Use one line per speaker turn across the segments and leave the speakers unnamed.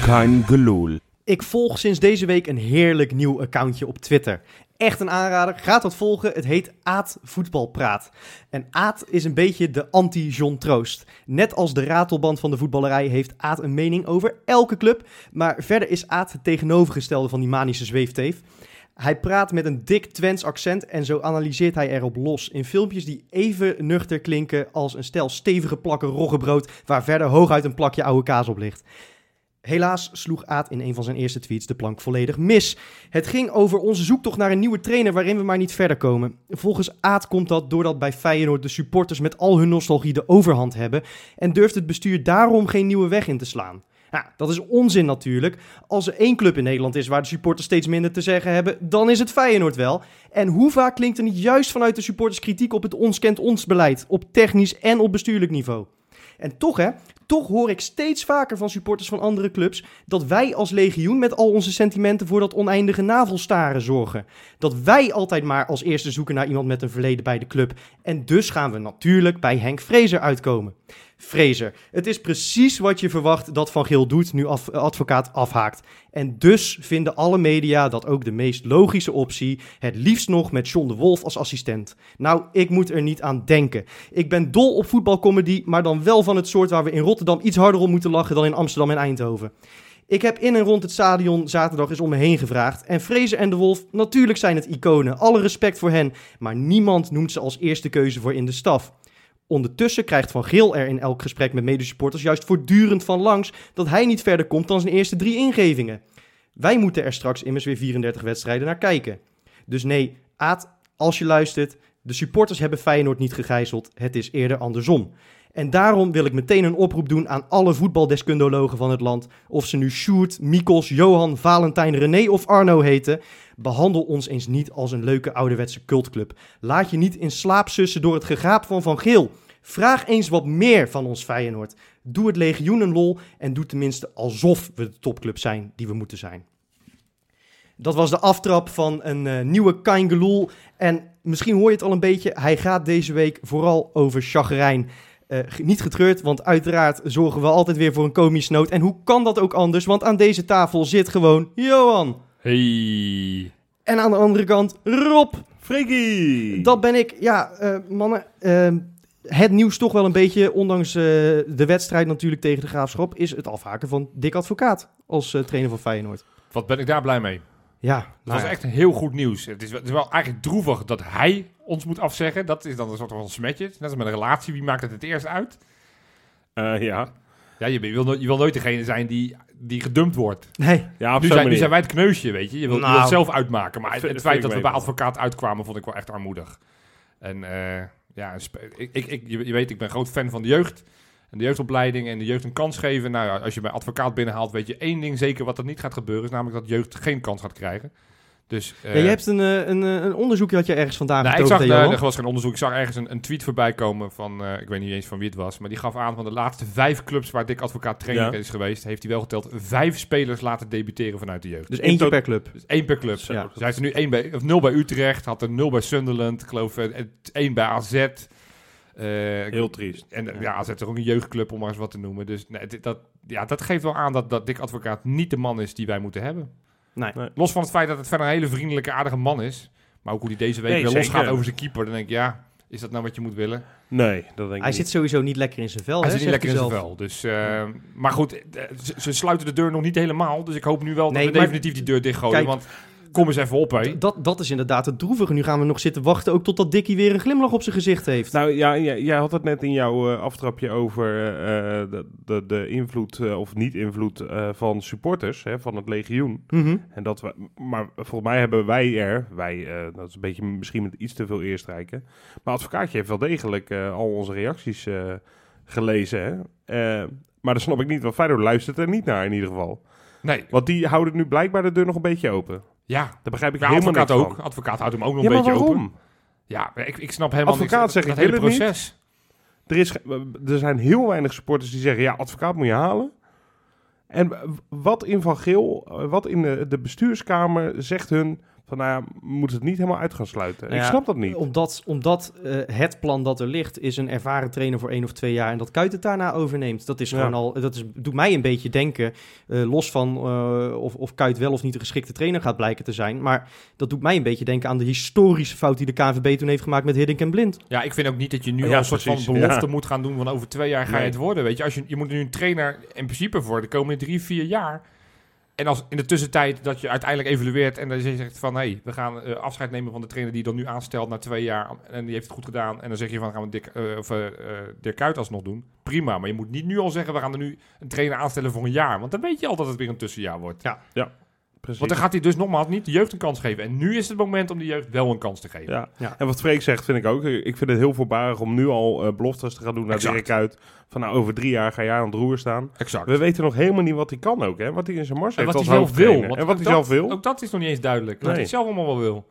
Kein geloel.
Ik volg sinds deze week een heerlijk nieuw accountje op Twitter. Echt een aanrader, ga dat volgen. Het heet Aad Voetbalpraat. En Aad is een beetje de anti-John Troost. Net als de ratelband van de voetballerij heeft Aad een mening over elke club. Maar verder is Aad het tegenovergestelde van die manische zweefteef. Hij praat met een dik Twents accent en zo analyseert hij erop los. In filmpjes die even nuchter klinken als een stel stevige plakken roggebrood... waar verder hooguit een plakje oude kaas op ligt. Helaas sloeg Aad in een van zijn eerste tweets de plank volledig mis. Het ging over onze zoektocht naar een nieuwe trainer waarin we maar niet verder komen. Volgens Aad komt dat doordat bij Feyenoord de supporters met al hun nostalgie de overhand hebben en durft het bestuur daarom geen nieuwe weg in te slaan. Nou, dat is onzin natuurlijk. Als er één club in Nederland is waar de supporters steeds minder te zeggen hebben, dan is het Feyenoord wel. En hoe vaak klinkt er niet juist vanuit de supporters kritiek op het ons kent ons beleid, op technisch en op bestuurlijk niveau? En toch hè, toch hoor ik steeds vaker van supporters van andere clubs dat wij als legioen met al onze sentimenten voor dat oneindige navelstaren zorgen. Dat wij altijd maar als eerste zoeken naar iemand met een verleden bij de club. En dus gaan we natuurlijk bij Henk Frezer uitkomen. Fraser. Het is precies wat je verwacht dat Van Geel doet nu af- eh, advocaat afhaakt. En dus vinden alle media dat ook de meest logische optie, het liefst nog met John de Wolf als assistent. Nou, ik moet er niet aan denken. Ik ben dol op voetbalcomedy, maar dan wel van het soort waar we in Rotterdam iets harder om moeten lachen dan in Amsterdam en Eindhoven. Ik heb in en rond het stadion zaterdag eens om me heen gevraagd. En Fraser en de Wolf, natuurlijk zijn het iconen. Alle respect voor hen. Maar niemand noemt ze als eerste keuze voor in de staf. Ondertussen krijgt Van Geel er in elk gesprek met medesupporters juist voortdurend van langs dat hij niet verder komt dan zijn eerste drie ingevingen. Wij moeten er straks immers weer 34 wedstrijden naar kijken. Dus nee, Aad, als je luistert, de supporters hebben Feyenoord niet gegijzeld, het is eerder andersom. En daarom wil ik meteen een oproep doen aan alle voetbaldeskundologen van het land. Of ze nu Sjoerd, Mikos, Johan, Valentijn, René of Arno heten. Behandel ons eens niet als een leuke ouderwetse cultclub. Laat je niet in slaap sussen door het gegaap van Van Geel. Vraag eens wat meer van ons Feyenoord. Doe het legioen een lol en doe tenminste alsof we de topclub zijn die we moeten zijn. Dat was de aftrap van een eh, nieuwe Kaingeloel. En misschien hoor je het al een beetje, hij gaat deze week vooral over chagrijn. Eh, ge- niet getreurd, want uiteraard zorgen we altijd weer voor een komisch noot. En hoe kan dat ook anders? Want aan deze tafel zit gewoon Johan.
Hey.
En aan de andere kant Rob.
Hmm.
Freaky!
Dat ben ik. Ja, eh, mannen. eh, het nieuws toch wel een beetje, ondanks eh, de wedstrijd natuurlijk tegen de Graafschap, is het afhaken van Dick Advocaat als eh, trainer van Feyenoord.
Wat ben ik daar blij mee.
Ja,
Dat
nou
was
ja.
echt heel goed nieuws. Het is, wel, het is wel eigenlijk droevig dat hij ons moet afzeggen. Dat is dan een soort van smetje. Net als met een relatie, wie maakt het het eerst uit?
Eh, ja.
Ja, je, wil, nooit- je wil nooit degene zijn die, die gedumpt wordt.
Nee,
Ja, op
Nu
zo'n
zijn, nu
manier.
zijn wij het kneusje, weet je. Je wilt, je
Nou.
wilt het zelf uitmaken. Maar het,
Vind-
het
vind
feit
ik
dat we
mee,
bij
man.
advocaat uitkwamen, vond ik wel echt armoedig. En eh, ja, een spe- ik, ik, ik, je, je weet, ik ben groot fan van de jeugd. En de jeugdopleiding en de jeugd een kans geven. Nou ja, als je bij advocaat binnenhaalt, weet je één ding zeker wat er niet gaat gebeuren. Is namelijk dat jeugd geen kans gaat krijgen. Dus, eh,
Ja, je hebt een, eh, een, eh, een onderzoekje dat je ergens vandaag
nou, ik
getoverd
zag,
hebt,
eh,
Johan.
er was geen onderzoek. Ik zag ergens een, een tweet voorbij komen van, eh, ik weet niet eens van wie het was, maar die gaf aan van de laatste vijf clubs waar Dick Advocaat trainer
Ja.
is geweest, heeft hij wel geteld vijf spelers laten debuteren vanuit de jeugd.
Dus
in
eentje
tot-
per club.
Dus één per club.
Zo.
Ja. Dus hij heeft er nu één bij, of nul bij Utrecht, had er nul bij Sunderland, ik geloof eh, het- één bij AZ. Eh,
Heel triest.
en eh,
Ja.
ja. AZ is ook een jeugdclub, om maar eens wat te noemen. Dus nee, dit- dat, ja, dat geeft wel aan dat, dat Dick Advocaat niet de man is die wij moeten hebben.
Nee.
Los van het feit dat het verder een hele vriendelijke, aardige man is. Maar ook hoe hij deze week
Nee,
weer los
zeker.
gaat over zijn keeper. Dan denk ik, ja, is dat nou wat je moet willen?
Nee, dat denk ik
Hij
niet.
zit sowieso niet lekker in zijn vel.
hij
hè,
zit niet
zegt
lekker in zijn
zelf.
vel. Dus, eh, Maar goed, eh, ze, ze sluiten de deur nog niet helemaal. Dus ik hoop nu wel
Nee,
dat we
maar-
definitief die deur dichtgooien.
Kijk.
want kom eens even op, hé.
D- Dat, dat is inderdaad het droevige. Nu gaan we nog zitten wachten ook totdat Dickie weer een glimlach op zijn gezicht heeft.
Nou ja, jij, jij had het net in jouw eh, aftrapje over eh, de, de, de invloed eh, of niet-invloed eh, van supporters, hè, van het legioen.
Nou,
Mhm.
En dat we, maar volgens mij hebben wij er, wij, eh, dat is een beetje misschien met iets te veel eerstrijken. Maar advocaatje heeft wel degelijk eh, al onze reacties eh, gelezen. Hè? Eh, maar dat snap ik niet, want Feyenoord luistert er niet naar in ieder geval.
Nee,
Want die houden nu blijkbaar de deur nog een beetje open.
ja.
Daar begrijp ik
Ja,
helemaal
Nou, advocaat
niks
ook.
van.
Advocaat houdt hem ook nog
Ja,
een
maar
beetje
waarom?
open. Ja, ik, ik snap helemaal
Advocaat
niks.
zegt,
dat
ik
hele
wil het niet.
proces.
Er, is, ge- er zijn heel weinig supporters die zeggen: ja, advocaat moet je halen. En w- wat in Van Geel, eh, wat in de, de bestuurskamer zegt hun: van, Van nou ja, we moeten het niet helemaal uit gaan sluiten.
Nou
ik
ja,
snap dat niet.
Omdat, omdat eh, het plan dat er ligt is een ervaren trainer voor één of twee jaar en dat Kuit het daarna overneemt. Dat is
Ja.
gewoon al, dat is, doet mij een beetje denken, eh, los van eh, of, of Kuit wel of niet de geschikte trainer gaat blijken te zijn. Maar dat doet mij een beetje denken aan de historische fout die de KNVB toen heeft gemaakt met Hiddink en Blind.
Ja, ik vind ook niet dat je nu
Ja,
al een soort
precies,
van belofte
ja.
moet gaan doen van over twee jaar ga je
Nee.
het worden. Weet je, als je, je moet nu een trainer in principe voor de komende drie, vier jaar. En als in de tussentijd dat je uiteindelijk evalueert en dan je zegt van hé, hey, we gaan eh, afscheid nemen van de trainer die dan nu aanstelt na twee jaar en die heeft het goed gedaan. En dan zeg je van gaan we Dick, eh, of, eh, eh, Dirk Kuyt alsnog doen. Prima, maar je moet niet nu al zeggen we gaan er nu een trainer aanstellen voor een jaar. Want dan weet je al dat het weer een tussenjaar wordt.
Precies.
Want dan gaat hij dus nogmaals niet de jeugd een kans geven. En nu is het moment om de jeugd wel een kans te geven.
Ja.
Ja.
En wat Freek zegt, vind ik ook. eh, Ik vind het heel voorbarig om nu al eh, beloftes te gaan doen naar
Exact.
Dirk uit. Van nou, over drie jaar ga jij aan het roer staan.
Exact.
We weten nog helemaal niet wat hij kan ook, hè. Wat hij in zijn mars
En
heeft
wat hij
als
zelf wil.
hoofdtrainer.
want
En wat
ook
hij zelf
dat-
wil.
Ook dat is nog niet eens duidelijk. Wat
Nee.
hij het zelf allemaal wel wil.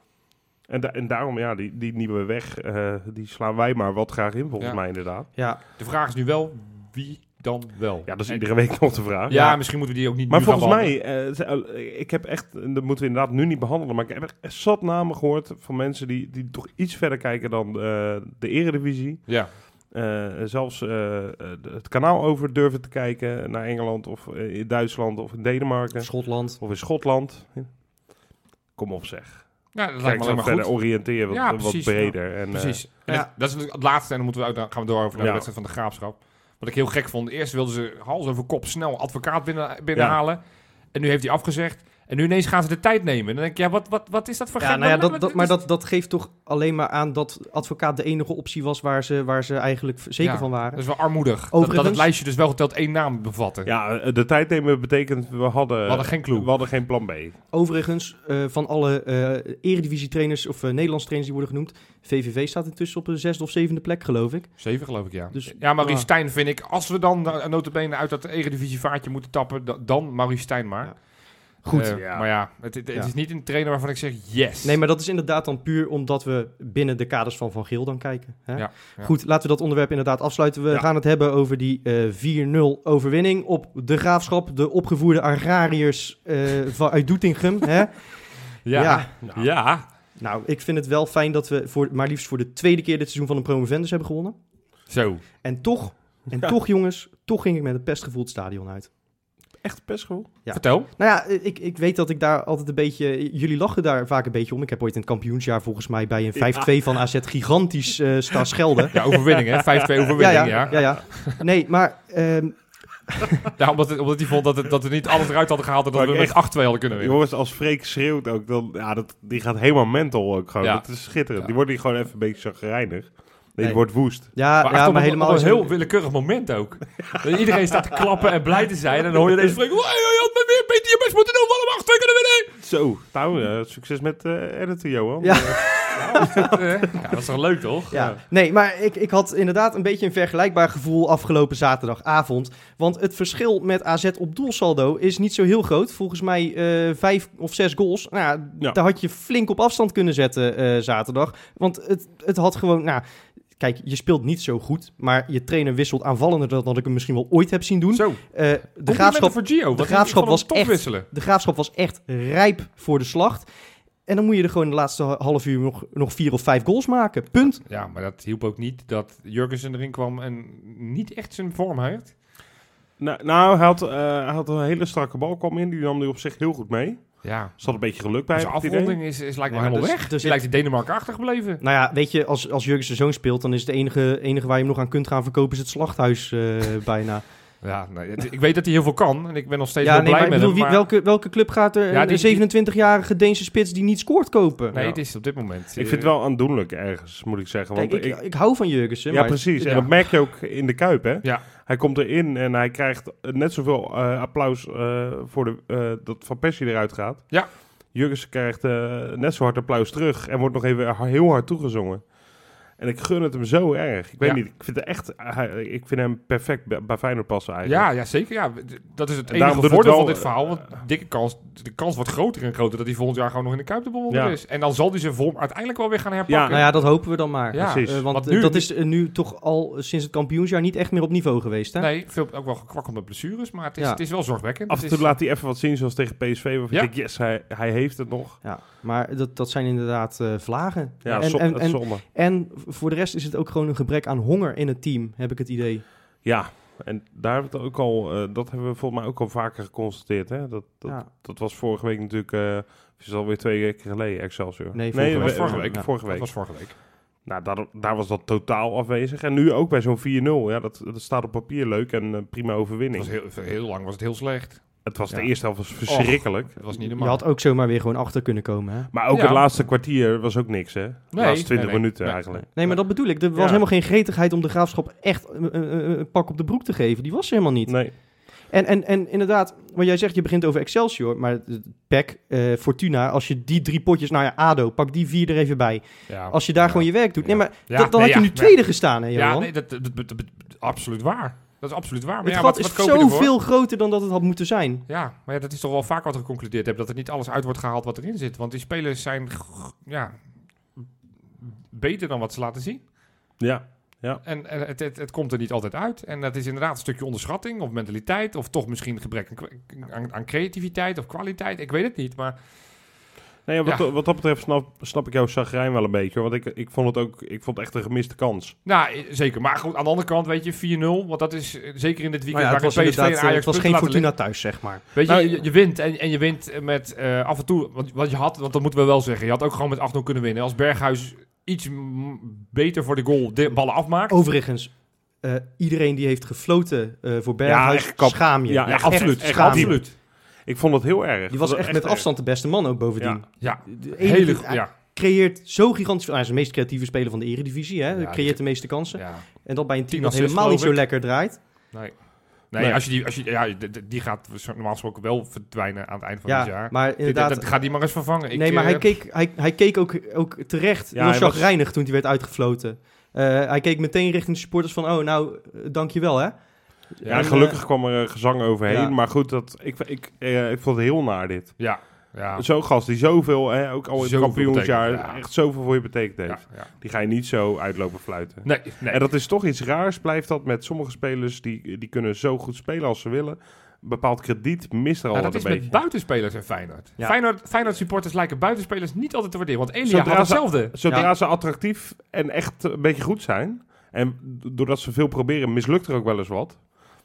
En, da- en daarom, ja, die, die nieuwe weg, eh, die slaan wij maar wat graag in, volgens
Ja.
mij inderdaad.
Ja,
De vraag is nu wel, wie dan wel?
Ja, dat is
En-
iedere week nog de vraag.
Ja, misschien moeten we die ook niet
Maar
nu gaan
volgens mij, eh, ze- eh, ik heb echt, en dat moeten we inderdaad nu niet behandelen, maar ik heb echt zat namen gehoord van mensen die, die toch iets verder kijken dan eh, de eredivisie.
behandelen. Ja,
Eh, zelfs eh, eh, het kanaal over durven te kijken naar Engeland of eh, in Duitsland of in Denemarken
Schotland.
of in Schotland. Kom op zeg.
nou, dat
Kijk
lijkt
zo
me alleen maar
verder
goed.
oriënteren wat,
Ja,
wat
precies, ja.
breder. En, eh,
Precies. En
Ja.
dat- Dat is natuurlijk het laatste en dan moeten we uit, dan gaan we door over
Ja.
naar de wedstrijd van de Graafschap. Wat ik heel gek vond. Eerst wilden ze hals over kop snel advocaat binnen, binnenhalen. En nu heeft hij afgezegd. En nu ineens gaan ze de tijd nemen. En dan denk ik, ja, wat, wat, wat is dat voor
Ja,
gek?
nou ja,
Wat-
dat,
wat-
dat,
wat
maar
is-
dat, dat geeft toch alleen maar aan dat advocaat de enige optie was waar ze, waar ze eigenlijk v- zeker
Ja.
van
dat
waren.
is wel armoedig. Dat- Dat, het
Overigens-
lijstje dus wel geteld één naam bevatte.
ja, eh, de tijd nemen betekent we hadden,
We hadden geen clue.
we hadden geen plan B.
Overigens, eh, van alle eh eredivisie-trainers of eh Nederlandse trainers die worden genoemd, VVV staat intussen op de zesde of zevende plek, geloof ik.
Zeven geloof ik, ja.
Dus-
ja, Maurice
ja.
Stijn vind ik, als we dan eh, notabene uit dat eredivisievaartje moeten tappen, da- dan Maurice Stijn maar.
Ja. Goed.
Eh,
Ja.
Maar ja, het, het, het
Ja.
is niet een trainer waarvan ik zeg yes.
Nee, maar dat is inderdaad dan puur omdat we binnen de kaders van Van Geel dan kijken. Hè?
Ja, ja.
Goed, laten we dat onderwerp inderdaad afsluiten. We
Ja.
gaan het hebben over die eh 4-0 overwinning op de graafschap. De opgevoerde agrariërs eh, van, uit Doetinchem. Hè?
ja. Ja.
Nou,
Nou, ik vind het wel fijn dat we voor, maar liefst voor de tweede keer dit seizoen van de promovendus hebben gewonnen.
zo.
En toch, en toch jongens, toch ging ik met een pestgevoel het stadion uit.
Echt best goed.
Ja.
Vertel.
Nou ja, ik, ik weet dat ik daar altijd een beetje... Jullie lachen daar vaak een beetje om. Ik heb ooit in het kampioensjaar volgens mij bij een 5-2 van AZ gigantisch eh staan schelden.
Ja, overwinning hè. 5-2 overwinning, ja.
ja, ja, ja, ja. Nee, maar ehm,
Ja, omdat, het- omdat hij vond dat, het, dat we niet alles eruit hadden gehaald en dat
Maar
we
ik
met 8-2
echt-
hadden kunnen winnen.
Jongens, als Freek schreeuwt ook, dan, ja, dat, die gaat helemaal mental ook gewoon.
Ja.
Dat is schitterend.
Ja.
Die wordt hier gewoon even een beetje chagrijnig. Nee,
Nee.
die wordt woest.
ja, ja,
Maar, echt op
maar
een-
helemaal...
op een
zo-
heel willekeurig moment ook. Dat Iedereen staat te klappen en blij te zijn. En dan hoor je deze spreken. Hé, hé, had maar weer beter je best moeten doen. We hadden 8-2 kunnen winnen.
Zo, nou, eh, succes met eh editen, Johan.
Ja.
Ja, dat is toch leuk, toch?
Ja, nee, maar ik, ik had inderdaad een beetje een vergelijkbaar gevoel afgelopen zaterdagavond. Want het verschil met AZ op doelsaldo is niet zo heel groot. Volgens mij eh, vijf of zes goals. Nou, ja,
Ja.
daar had je flink op afstand kunnen zetten eh, zaterdag. Want het, het had gewoon, nou, kijk, je speelt niet zo goed. Maar je trainer wisselt aanvallender dan dat ik hem misschien wel ooit heb zien doen.
Zo.
Eh, de,
Complimenten
graafschap,
voor Gio. want ik- ik
Graafschap
vond hem
was
top
echt-
wisselen.
de graafschap was echt rijp voor de slacht. En dan moet je er gewoon de laatste ha- half uur nog, nog vier of vijf goals maken. Punt.
Ja, maar dat hielp ook niet dat Jurgensen erin kwam en niet echt zijn vorm heeft.
Nou, nou, hij had, eh, hij had een hele strakke bal kwam in. Die nam hij op zich heel goed mee.
Ja.
Er zat een beetje geluk bij.
Zijn
heb ik het idee.
afronding is, is lijkt me
Nee, maar
helemaal
dus-
weg.
dus
Dus
ik-
lijkt in Denemarken achtergebleven.
Nou ja, weet je, als, als Jurgensen zoon speelt, dan is het enige, enige waar je hem nog aan kunt gaan verkopen, is het slachthuis eh, bijna.
Ja, nee, het- ik weet dat hij heel veel kan en ik ben nog steeds
ja,
heel
nee,
blij
maar ik
met
bedoel,
hem.
wie-
maar-
welke, welke club gaat er
Ja, die-
een 27-jarige Deense spits die niet scoort kopen?
Nee,
Ja.
het is op dit moment. eh,
Ik vind het wel aandoenlijk ergens, moet ik zeggen. Want
Kijk, ik,
ik,
ik, hou van Jurgensen,
ja,
maar
precies. En
ja.
dat merk je ook in de Kuip, hè?
Ja.
Hij komt erin en hij krijgt net zoveel eh, applaus eh, voor de, eh, dat Van Persie eruit gaat.
Ja.
Jurgensen krijgt eh, net zo hard applaus terug en wordt nog even ha- heel hard toegezongen. En ik gun het hem zo erg. Ik weet
Ja.
niet, ik vind, het echt, hij- ik vind hem perfect bij- bij Feyenoord passen eigenlijk.
Ja, ja, zeker. Ja. D- Dat is het
En daarom doet
enige
het
voordeel
wel,
van dit
eh,
verhaal. Want dikke kans, de kans wordt groter en groter dat hij volgend jaar gewoon nog in de Kuip te bewonderen
Ja.
is. En dan zal hij zijn vorm uiteindelijk wel weer gaan herpakken.
Nou ja, dat hopen we dan maar.
Ja,
precies.
Eh, want
want nu-
eh, dat is eh, nu toch al eh, sinds het kampioensjaar niet echt meer op niveau geweest, hè?
Nee, veel, ook wel gekwakkeld met blessures, maar het is,
Ja.
het is wel zorgwekkend.
Af en
Het
toe
is-
laat hij even wat zien, zoals tegen PSV. Waarvan
Ja.
ik denk, yes, hij, hij heeft het nog.
Ja, maar dat, dat zijn inderdaad eh, vlagen.
Ja,
en,
zo-
en,
dat
en,
is zonde.
en voor de rest is het ook gewoon een gebrek aan honger in het team, heb ik het idee.
Ja, en daar hebben we het ook al, eh, dat hebben we volgens mij ook al vaker geconstateerd. Hè? Dat, dat,
Ja.
dat was vorige week natuurlijk, eh het is alweer twee weken geleden, Excelsior.
Nee, vorige
dat
week.
was
Vorige week,
eh,
ja.
Vorige
Dat
week.
was vorige week.
Nou, daar, daar was dat totaal afwezig. En nu ook bij zo'n 4-0. Ja, dat, dat staat op papier leuk en eh, prima
Het
overwinning.
was heel, heel lang was het heel slecht.
het was de
ja.
eerste helft was verschrikkelijk.
Het was niet
Je
normaal.
had ook zomaar weer gewoon achter kunnen komen, hè?
Maar ook
Ja.
het laatste kwartier was ook niks, hè? De
Nee,
laatste 20
nee, nee.
minuten
Nee.
eigenlijk.
Nee, maar dat bedoel ik. Er was
Ja.
helemaal geen gretigheid om de graafschap echt eh, eh, eh, een pak op de broek te geven. Die was er helemaal niet.
Nee,
En, en, en inderdaad, wat jij zegt, je begint over Excelsior. Maar eh, PEC, eh, Fortuna, als je die drie potjes... Nou ja, ADO, pak die vier er even bij.
Ja.
Als je daar
Ja.
gewoon je werk doet. Nee,
Ja.
maar
Ja,
dat, dan
nee,
had je
ja,
nu
nee.
tweede gestaan, hè, Johan?
Ja, nee, dat, dat, dat, dat- dat- absoluut waar. Dat is absoluut waar. Maar
het
ja,
gat
wat, wat
is
koop je ervoor?
zoveel groter dan dat het had moeten zijn.
Ja, maar ja, dat is toch wel vaak wat we geconcludeerd hebben. Dat er niet alles uit wordt gehaald wat erin zit. Want die spelers zijn g- ja, beter dan wat ze laten zien.
ja.
En, en het, het, het komt er niet altijd uit. En dat is inderdaad een stukje onderschatting of mentaliteit. Of toch misschien gebrek aan, kwa- aan, aan creativiteit of kwaliteit. Ik weet het niet. Maar
Nee, ja, wat,
Ja.
wat dat betreft snap, snap ik jouw chagrijn wel een beetje. hoor. Want ik, ik vond het ook ik vond het echt een gemiste kans.
nou, eh, zeker. Maar goed, aan de andere kant, weet je, 4-0. Want dat is eh, zeker in
Maar
dit weekend
ja, het
waarin
was,
PSV en
inderdaad,
Ajax
eh, het was geen
punten laten liggen.
Fortuna thuis, zeg maar.
Weet je,
Nou,
je, je wint en, en je wint met eh, af en toe, want, want je had, want dat moeten we wel zeggen, je had ook gewoon met 8-0 kunnen winnen. Als Berghuis iets mm, beter voor de goal de ballen
Oh,
afmaakt.
Overigens, eh, iedereen die heeft gefloten eh, voor Berghuis,
echt kap.
schaam je.
Ja,
ja,
echt,
absoluut.
echt, echt
Schaam-
diep.
absoluut.
Ik vond het heel erg.
Die was
Ik vond het
echt met
erg.
afstand de beste man ook bovendien.
Ja.
Ja,
De enige-
hele go- ja,
creëert zo gigantisch veel. Hij is de meest creatieve speler van de Eredivisie. Hè?
Ja,
Hij creëert
die-
de meeste kansen.
ja.
En dat bij een team
Tien
dat
assists,
helemaal niet zo
geloof
lekker draait.
Nee,
Nee.
als je die, als je, ja, d- d- die gaat zo- normaal gesproken wel verdwijnen aan het eind van
Ja,
het jaar. Dit-
maar inderdaad.
dat, gaat die maar eens vervangen. Ik,
nee, maar
eh,
hij keek, hij, hij keek ook, ook terecht
Ja,
heel
hij was-
chagrijnig toen hij werd uitgefloten. Eh, hij keek meteen richting de supporters van, oh, nou, eh, dankjewel, hè.
Ja,
En,
gelukkig
eh,
kwam er eh, gezang overheen.
ja.
Maar goed, dat, ik, ik, eh, ik vond het heel naar dit.
Ja, ja,
Zo'n gast die zoveel, hè, ook al in het
Zoveel
kampioensjaar,
betekent, ja.
echt zoveel voor je betekend heeft.
ja, ja.
Die ga je niet zo uitlopen fluiten.
Nee, nee.
En dat is toch iets raars, blijft dat met sommige spelers die, die kunnen zo goed spelen als ze willen. Een bepaald krediet mist er al
Nou,
een
dat is
beetje.
met buitenspelers in Feyenoord.
Ja.
Feyenoord. Feyenoord supporters lijken buitenspelers niet altijd te waarderen. Want Elia
Zodra
had
ze-
hetzelfde.
Zodra
Ja.
ze attractief en echt een beetje goed zijn, en doordat ze veel proberen, mislukt er ook wel eens wat.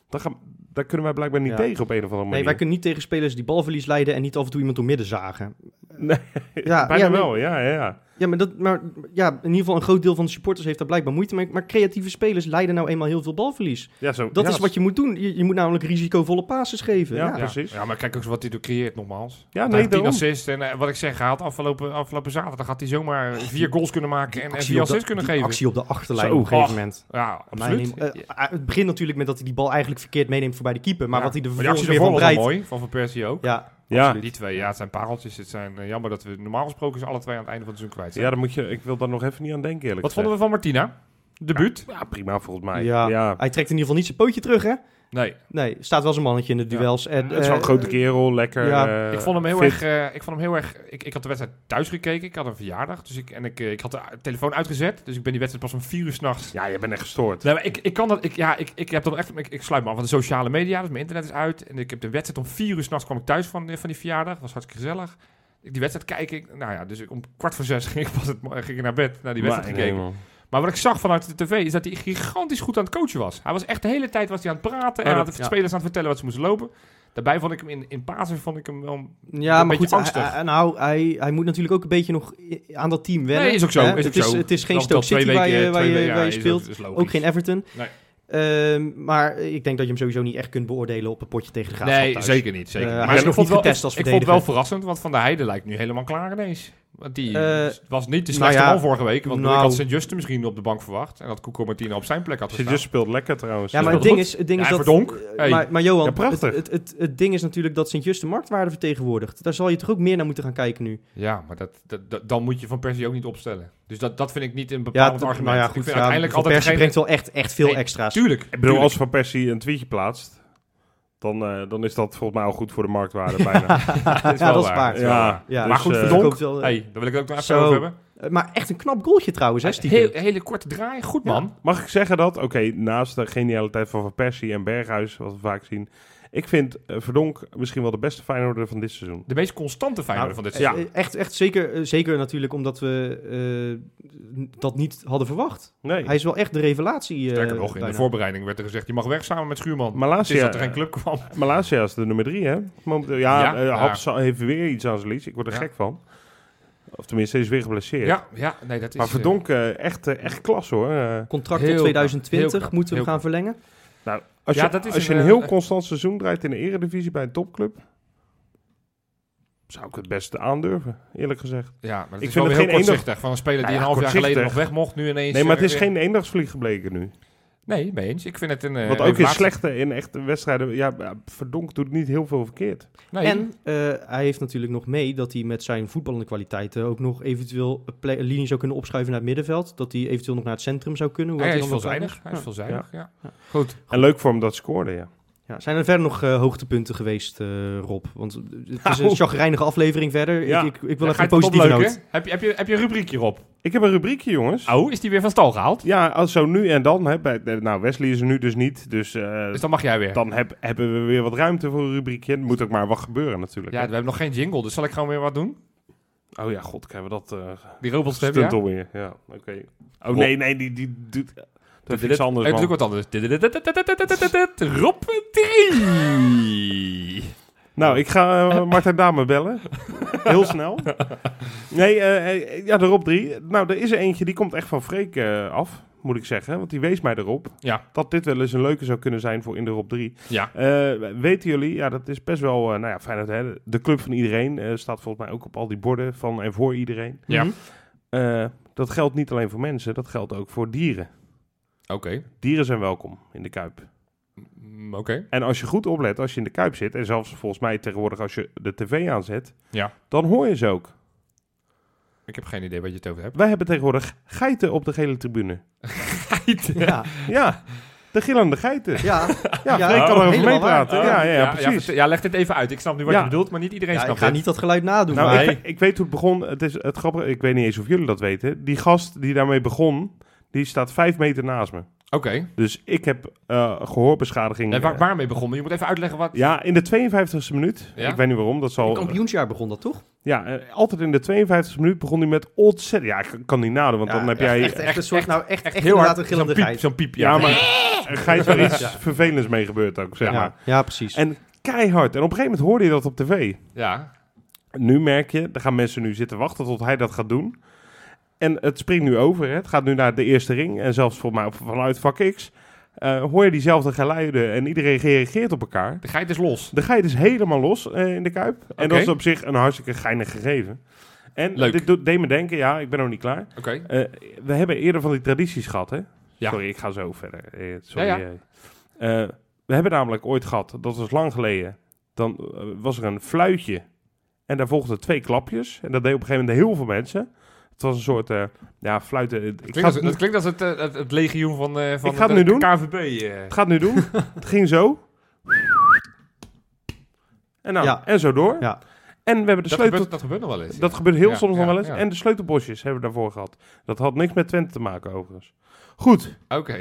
Dan gaan, daar kunnen wij blijkbaar niet
Ja.
tegen op een of andere
Nee,
manier.
wij kunnen niet tegen spelers die balverlies leiden en niet af en toe iemand door midden zagen.
Nee,
Ja,
bijna
ja, maar-
wel, ja, ja, ja.
Ja, maar, dat, maar ja, in ieder geval een groot deel van de supporters heeft daar blijkbaar moeite mee. Maar creatieve spelers leiden nou eenmaal heel veel balverlies.
ja zo,
Dat
ja,
is wat je moet doen. Je, je moet namelijk risicovolle passes geven.
Ja.
Ja,
Ja. precies.
Ja, maar kijk ook wat hij er creëert nogmaals.
Ja,
Ja,
nee,
nee, 10
daarom.
assists. En eh, wat ik zeg, hij had afgelopen, afgelopen zaterdag had hij zomaar vier goals kunnen maken en, en
Actie op
vier
de-
assists kunnen
die
geven.
actie op de achterlijn
Zo,
op een gegeven
och.
moment.
Ja,
Mijn
absoluut.
neem- eh, ah, het begint natuurlijk met dat hij die bal eigenlijk verkeerd meeneemt voor bij de keeper. Maar
Ja.
wat hij er
Maar die
vervolgens
actie
weer van
daarvoor was al
breidt.
mooi, van Van Persie ook.
Ja,
Ja.
Die twee, ja, het zijn pareltjes. Het zijn eh, jammer dat we normaal gesproken ze alle twee aan het einde van het seizoen kwijt zijn.
ja, dan moet je, ik wil daar nog even niet aan denken eerlijk
wat vonden we van Martina? Debuut?
Ja, prima volgens mij. Ja.
Ja. hij trekt in ieder geval niet zijn pootje terug, hè?
Nee.
Nee, staat wel zijn mannetje in de
Ja.
duels. En,
Het is wel een
eh,
grote kerel, lekker.
ja.
eh,
ik vond hem heel
fit.
erg. eh, ik vond hem heel erg. Ik, ik had de wedstrijd thuis gekeken. Ik had een verjaardag. Dus ik, en ik, eh, ik had de eh, telefoon uitgezet. Dus ik ben die wedstrijd pas om vier uur s'nachts
Ja, je bent echt gestoord.
Nee, maar ik, ik kan dat. Ik, ja, ik, ik heb dan echt. Ik, ik sluit me af van de sociale media. Dus mijn internet is uit. En ik heb de wedstrijd om vier uur s'nachts kwam ik thuis van, eh, van die verjaardag. Was hartstikke gezellig. Ik die wedstrijd kijk ik. Nou ja, dus ik, om kwart voor zes ging ik, pas het, ging ik naar bed naar die wedstrijd
Maar- nee,
gekeken.
man.
maar wat ik zag vanuit de tv is dat hij gigantisch goed aan het coachen was. Hij was echt de hele tijd was hij aan het praten.
Ja,
en
Oh, dat-
had de
ja.
spelers aan het vertellen wat ze moesten lopen. Daarbij vond ik hem in, in basis vond ik hem wel.
Ja, maar
een beetje
goed, hij,
angstig.
hij- nou, hij, hij moet natuurlijk ook een beetje nog i- aan dat team wennen.
Nee, is ook zo.
hè?
Is ook
het, is,
zo.
het is geen
Dat- dat
Stoke City
twee
waar je,
weken-
waar
twee
je,
weken-
waar
ja,
je
is-
speelt.
is logisch.
Ook geen Everton.
Nee.
Ehm, maar ik denk dat je hem sowieso niet echt kunt beoordelen op een potje tegen de Graafschap
Nee,
thuis.
zeker niet. Zeker.
Eh,
niet.
hij is
ik
nog
vond
niet
wel-
getest als
Ik vond het wel
verdediger.
verrassend, want Van der Heijden lijkt nu helemaal klaar ineens. Want die
Eh,
was niet de
nou
slechtste
ja,
man vorige week. Want
nou.
ik had Sint-Justin misschien op de bank verwacht. En dat Cuco Martina op zijn plek had gestaan.
Sint-Just dus speelt lekker trouwens.
Ja, maar het
Speelt
ding
goed.
is, het ding
Ja,
is
hij
dat...
verdonk.
eh,
Hey.
Maar, maar Johan,
Ja, prachtig.
Het, het, het, het ding is natuurlijk dat Sint-Just de marktwaarde vertegenwoordigt. Daar zal je toch ook meer naar moeten gaan kijken nu.
Ja, maar dat, dat, dat- dan moet je Van Persie ook niet opstellen. Dus dat, dat vind ik niet een bepaald
t-
argument.
nou ja,
ik
goed.
vind
ja,
uiteindelijk
Van
altijd
Persie
degene-
brengt wel echt, echt veel
Nee,
extra's.
Tuurlijk.
Ik bedoel, als Van Persie een tweetje plaatst, dan, eh, dan is dat volgens mij al goed voor de marktwaarde bijna.
dat
Ja, dat is waar.
Ja,
Ja.
maar
dus,
goed,
eh,
verdonk.
Koopt wel, eh,
Hey, daar wil ik het ook nog even
Zo.
over hebben.
eh, Maar echt een knap goaltje trouwens, hè, stiekem. Nou,
Heel, hele korte draai. Goed,
Ja.
man.
Mag ik zeggen dat, oké, naast de genialiteit van Van Persie en Berghuis, wat we vaak zien, ik vind eh, Verdonk misschien wel de beste Feyenoorder van dit seizoen.
De meest constante Feyenoorder
Nou,
van dit
eh, ja.
seizoen.
Echt, echt zeker, eh, zeker natuurlijk omdat we eh, dat niet hadden verwacht.
Nee,
Hij is wel echt de revelatie. eh,
Sterker nog, in de
bijna.
voorbereiding werd er gezegd... je mag weg samen met Schuurman. Het is
Malasia,
dat er geen club kwam.
Malasia is de nummer drie, hè? Momenteel, ja,
Ja,
eh,
ja.
Haps heeft weer iets aan zijn lies. Ik word er
Ja.
gek van. Of tenminste, hij is weer geblesseerd.
Ja, ja, nee, dat is...
maar
eh,
Verdonk, eh, echt, eh, echt klas hoor. Eh,
Contract
Heel
tot
knap,
2020
heel knap,
moeten we
heel
hem gaan verlengen.
nou, als
Ja,
je,
dat is
als je
een,
een
eh,
heel
eh,
constant seizoen draait in de eredivisie bij een topclub, zou ik het beste aandurven, eerlijk gezegd.
Ja, maar dat
Ik
is
vind
wel
het
weer heel
geen enig-
kortzichtig. Van een speler die
Nou ja,
een half jaar geleden nog
kortzichtig.
weg mocht, nu ineens...
Nee, maar
eh,
het is
weer-
geen eendagsvlieg gebleken nu.
Nee, mee eens. Ik vind het een... eh,
Want ook in
evaluatie-
slechte, in echte wedstrijden, ja, eh, Verdonk doet niet heel veel verkeerd.
Nee.
En eh, hij heeft natuurlijk nog mee dat hij met zijn voetballende kwaliteiten ook nog eventueel een plek- een linie zou kunnen opschuiven naar het middenveld. Dat hij eventueel nog naar het centrum zou kunnen. hoewel
hij is
dan nog
veelzijdig. Hij
weinig-
is veelzijdig, ja. Goed.
En leuk voor hem dat scoorde, ja.
Ja. Ja, zijn er verder nog eh, hoogtepunten geweest, eh, Rob? Want het is
Nou.
een chagrijnige aflevering verder.
Ja.
Ik, ik, ik wil
Dan
even
ga
een
je het
positieve
opleuken.
noot.
Heb je, heb, je, heb je een rubriekje op?
Ik heb een rubriekje, jongens.
Oh, is die weer van stal gehaald?
Ja, als zo nu en dan. Hè, bij, eh, nou, Wesley is er nu dus niet, dus, eh,
Dus dan mag jij weer.
dan heb, hebben we weer wat ruimte voor een rubriekje. Er moet ook maar wat gebeuren
Ja,
natuurlijk.
we
hè.
hebben nog geen jingle, dus zal ik gewoon weer wat doen?
Oh ja, god, krijgen we dat eh
Die robots hebben
stunt
ja?
alweer. Ja, oké. Oh nee, nee, die, die doet... Dat is iets anders,
Eh, doe
man.
ik wat anders. Rob 3.
Nou, ik ga eh, Martijn Dame bellen. Heel snel. Nee, eh, eh, ja, de Rob 3. Nou, er is er eentje, die komt echt van Freek eh, af, moet ik zeggen. Want die wees mij erop.
Ja.
Dat dit wel eens een leuke zou kunnen zijn voor in de Rob 3.
Ja.
Eh, weten jullie, ja, dat is best wel, eh, nou ja, fijn hè, de club van iedereen eh, staat volgens mij ook op al die borden van en voor iedereen.
Ja.
Mhm.
Eh, dat geldt niet alleen voor mensen, dat geldt ook voor dieren.
Oké.
Dieren zijn welkom in de Kuip.
Mm, Oké.
En als je goed oplet, als je in de Kuip zit, en zelfs volgens mij tegenwoordig als je de tv aanzet,
Ja.
dan hoor je ze ook.
Ik heb geen idee wat je het over hebt.
Wij hebben tegenwoordig geiten op de gele tribune.
Ja,
Ja, de gillende geiten.
ja.
Ja,
Ja,
Freek kan
oh,
erover
helemaal
meepraten.
waar.
Ja, ja, ja,
Ja,
precies.
vert- ja, leg dit even uit. Ik snap nu wat
Ja.
je bedoelt, maar niet iedereen
Ja, ik
snapt
ga
het.
niet dat geluid nadoen.
Nou,
maar
ik, ik weet hoe het begon. Het is het grappige, ik weet niet eens of jullie dat weten. Die gast die daarmee begon, die staat vijf meter naast me.
Oké.
Dus ik heb eh, gehoorbeschadiging.
En waar,
eh,
waarmee begonnen? Je moet even uitleggen wat...
ja, in de 52e minuut.
Ja?
Ik weet niet waarom, dat
het
zal...
kampioensjaar begon dat toch?
Ja, eh, altijd in de 52e minuut begon hij met ontzettend... Ja, ik kan niet nadenken, want
Ja,
dan heb
ja,
jij...
echt, echt een soort, nou echt, echt
heel
inderdaad
hard.
een gillende
zo'n piep,
geit.
zo'n piep, ja.
ja, maar er gaat er iets
Ja.
vervelends mee gebeurd ook, zeg maar.
Ja, ja, precies.
En- Keihard. En op een gegeven moment hoorde je dat op tv.
Ja.
Nu merk je, er gaan mensen nu zitten wachten tot hij dat gaat doen. En het springt nu over. Hè. Het gaat nu naar de eerste ring. En zelfs volgens mij op- vanuit vak X eh, hoor je diezelfde geluiden en iedereen reageert op elkaar.
De geit is los.
De geit is helemaal los eh, in de kuip. En
Oké.
dat is op zich een hartstikke geinig gegeven. En
Leuk.
dit doet, deed me denken, ja, ik ben nog niet klaar.
Oké.
Eh, we hebben eerder van die tradities gehad, hè?
Ja.
Sorry, ik ga zo verder. Eh, sorry.
Ja, ja.
eh. Eh, we hebben namelijk ooit gehad, dat was lang geleden, dan eh, was er een fluitje en daar volgden twee klapjes. En dat deed op een gegeven moment heel veel mensen. Het was een soort, eh, ja, fluiten. Ik
Klinkt
ga
als-
het,
dat
niet-
klinkt als het, eh, het, het legioen van, eh van
Ik ga het
de,
nu doen.
KVB. eh.
het gaat nu doen. het ging zo. En, nou,
Ja.
en zo door.
Ja.
En we hebben de
dat,
sleutel...
gebeurt, dat gebeurt nog wel eens.
Dat
ja.
gebeurt heel
Ja,
soms nog
ja,
wel eens.
ja.
En de sleutelbosjes hebben we daarvoor gehad. Dat had niks met Twente te maken, overigens. Goed.
Oké.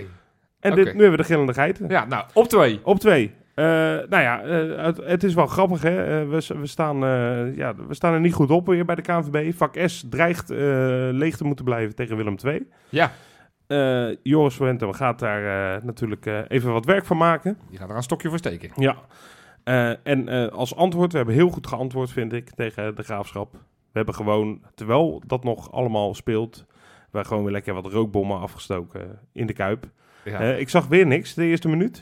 En
Oké.
dit, nu hebben we de gillende geiten.
Ja, nou, op twee.
Op twee. Eh, nou ja, eh, het, het is wel grappig, hè. Eh, we, s- we, staan, eh, ja, we staan er niet goed op weer bij de KNVB. Vak S dreigt eh, leeg te moeten blijven tegen Willem II.
Ja.
Eh, Joris Wentum gaat daar eh, natuurlijk eh, even wat werk van maken.
Je gaat er een stokje voor steken.
Ja. Eh, en eh, als antwoord, we hebben heel goed geantwoord, vind ik, tegen de graafschap. We hebben gewoon, terwijl dat nog allemaal speelt, we hebben gewoon weer lekker wat rookbommen afgestoken in de kuip.
Ja.
Eh, ik zag weer niks de eerste minuut.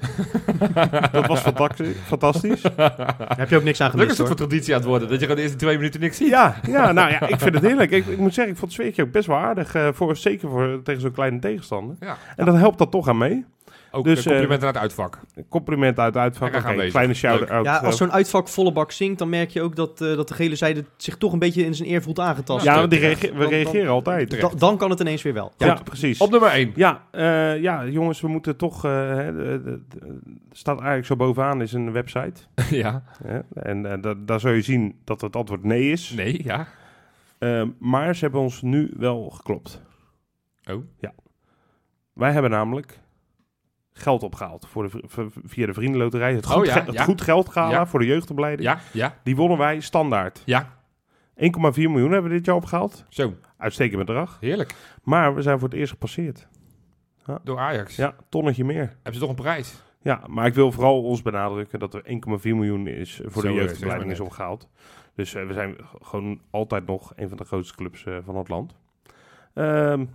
dat was fantac- fantastisch.
Daar heb je ook niks aan
Leuk
gemist
is het
hoor.
voor traditie aan het worden, dat je gewoon de eerste twee minuten niks ziet.
Ja, ja, nou ja, ik vind het heerlijk. Ik, ik moet zeggen, ik vond het zweertje ook best wel aardig. eh, voor, zeker voor, tegen zo'n kleine tegenstander.
Ja.
En dan helpt dat toch aan mee.
Ook
Dus,
eh, complimenten aan het uitvak.
Compliment uit uitvak.
Lekker
Oké,
aanwezig.
kleine shout-out.
Ja,
eh,
als zo'n uitvak volle bak zinkt, dan merk je ook dat, eh, dat de gele zijde zich toch een beetje in zijn eer voelt aangetast.
ja,
terecht.
want die reage- we
Dan- dan-
reageren altijd.
Da- dan kan het ineens weer wel.
ja,
Ja.
precies.
Op nummer 1.
Ja, eh, ja, jongens, we moeten toch... eh, hè, de- de- de- staat eigenlijk zo bovenaan, is een website.
ja.
Hè? En eh, da- daar zul je zien dat het antwoord nee is.
Nee, ja.
Eh, maar ze hebben ons nu wel geklopt.
Oh.
Ja. Wij hebben namelijk geld opgehaald voor de, vri- v- via de Vriendenloterij. Het
Oh
goed,
ja,
ge- het
ja.
goed geld gala
Ja.
voor de jeugdopleiding.
Ja, ja,
Die wonnen wij standaard. 1,4
ja.
miljoen hebben we dit jaar opgehaald.
Zo,
Uitstekend bedrag.
heerlijk.
Maar we zijn voor het eerst gepasseerd.
Door Ajax.
Ja, tonnetje meer.
Hebben ze toch een prijs?
Ja, maar ik wil vooral ons benadrukken dat er 1,4 miljoen is voor de
Zo, eh, zeg maar
jeugdopleiding
net.
is opgehaald. Dus eh, we zijn g- gewoon altijd nog een van de grootste clubs eh, van het land. Ehm,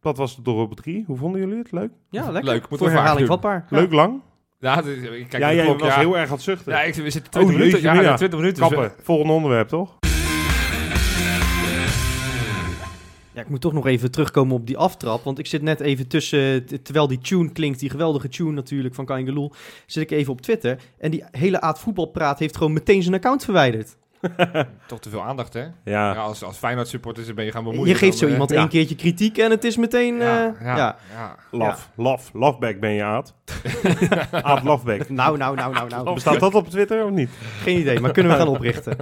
dat was het dorp 3. Hoe vonden jullie het? Leuk?
Ja, leuk.
Leuk, moeten
voor
we vaak
herhaling
doen.
vatbaar.
Leuk lang?
Ja, dat is- ik kijk
ja,
naar de
jij
klok,
was
ja.
heel erg aan het zuchten.
Ja, ik, we zitten 20
Oh,
minuten.
jeetje,
Ja,
mina.
20 minuten. dus, eh,
Kappen. Volgende onderwerp, toch?
Ja, ik moet toch nog even terugkomen op die aftrap. Want ik zit net even tussen, t- terwijl die tune klinkt, die geweldige tune natuurlijk van Kangeloel, zit ik even op Twitter. En die hele Aad Voetbalpraat heeft gewoon meteen zijn account verwijderd.
Dus toch te veel aandacht, hè? Ja.
Ja.
als, als Feyenoord supporters ben je gaan bemoeien.
Je geeft
dan,
zo
eh,
iemand
ja.
één keertje kritiek en het is meteen... eh,
Ja,
Ja,
ja, ja.
Laf, laf, lafback ben je, Aad. Aad Lafback.
Nou, nou, nou, nou, nou.
Bestaat dat op Twitter of niet?
Geen idee, maar kunnen we gaan oprichten.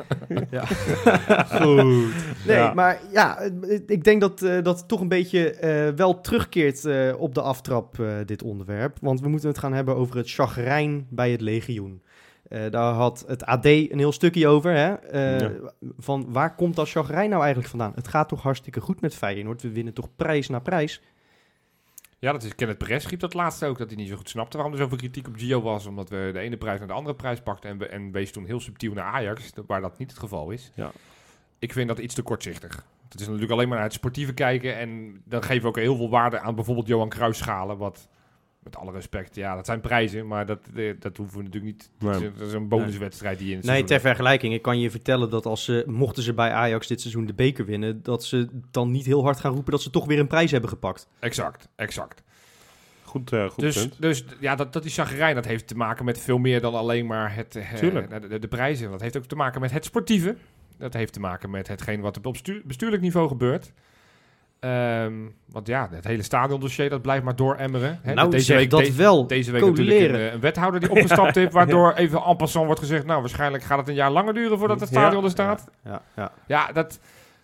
Goed.
Nee,
Ja.
maar ja, het- het- ik denk dat eh, dat het toch een beetje eh, wel terugkeert eh, op de aftrap, eh, dit onderwerp. Want we moeten het gaan hebben over het chagrijn bij het legioen. Eh, daar had het AD een heel stukje over. Hè? Eh,
Ja.
Van waar komt dat chagrijn nou eigenlijk vandaan? Het gaat toch hartstikke goed met Feyenoord? We winnen toch prijs na prijs?
dat is Kenneth Perez riep dat laatste ook, dat hij niet zo goed snapte waarom er zoveel kritiek op Gio was. Omdat we de ene prijs naar de andere prijs pakten en, we, en wees toen heel subtiel naar Ajax, waar dat niet het geval is.
Ja.
Ik vind dat iets te kortzichtig. Het is natuurlijk alleen maar naar het sportieve kijken en dan geven we ook heel veel waarde aan bijvoorbeeld Johan Cruijff schalen, wat... Met alle respect, ja, dat zijn prijzen, maar dat, eh, dat hoeven we natuurlijk niet.
Nee.
Dat is- Dat is een bonuswedstrijd die je in het
Nee,
seizoen
ter vergelijking. Ik kan je vertellen dat als ze, mochten ze bij Ajax dit seizoen de beker winnen... dat ze dan niet heel hard gaan roepen dat ze toch weer een prijs hebben gepakt.
hebt. Exact, exact.
Goed, eh, goed
Dus,
punt.
dus d- ja, dat, dat die chagrijn, dat heeft te maken met veel meer dan alleen maar het, eh,
Tuurlijk.
de, de- de prijzen. Dat heeft ook te maken met het sportieve. Dat heeft te maken met hetgeen wat op bestuur- bestuurlijk niveau gebeurt. Ehm, want ja, het hele stadiondossier, dat blijft maar dooremmeren. hè.
nou,
deze
zeg
week,
dat
de-
wel.
deze week
Coleren.
natuurlijk een, eh, een wethouder die opgestapt heeft, waardoor even en passant wordt gezegd... nou, waarschijnlijk gaat het een jaar langer duren voordat het
Ja.
stadion er staat.
Ja, ja.
Ja, dat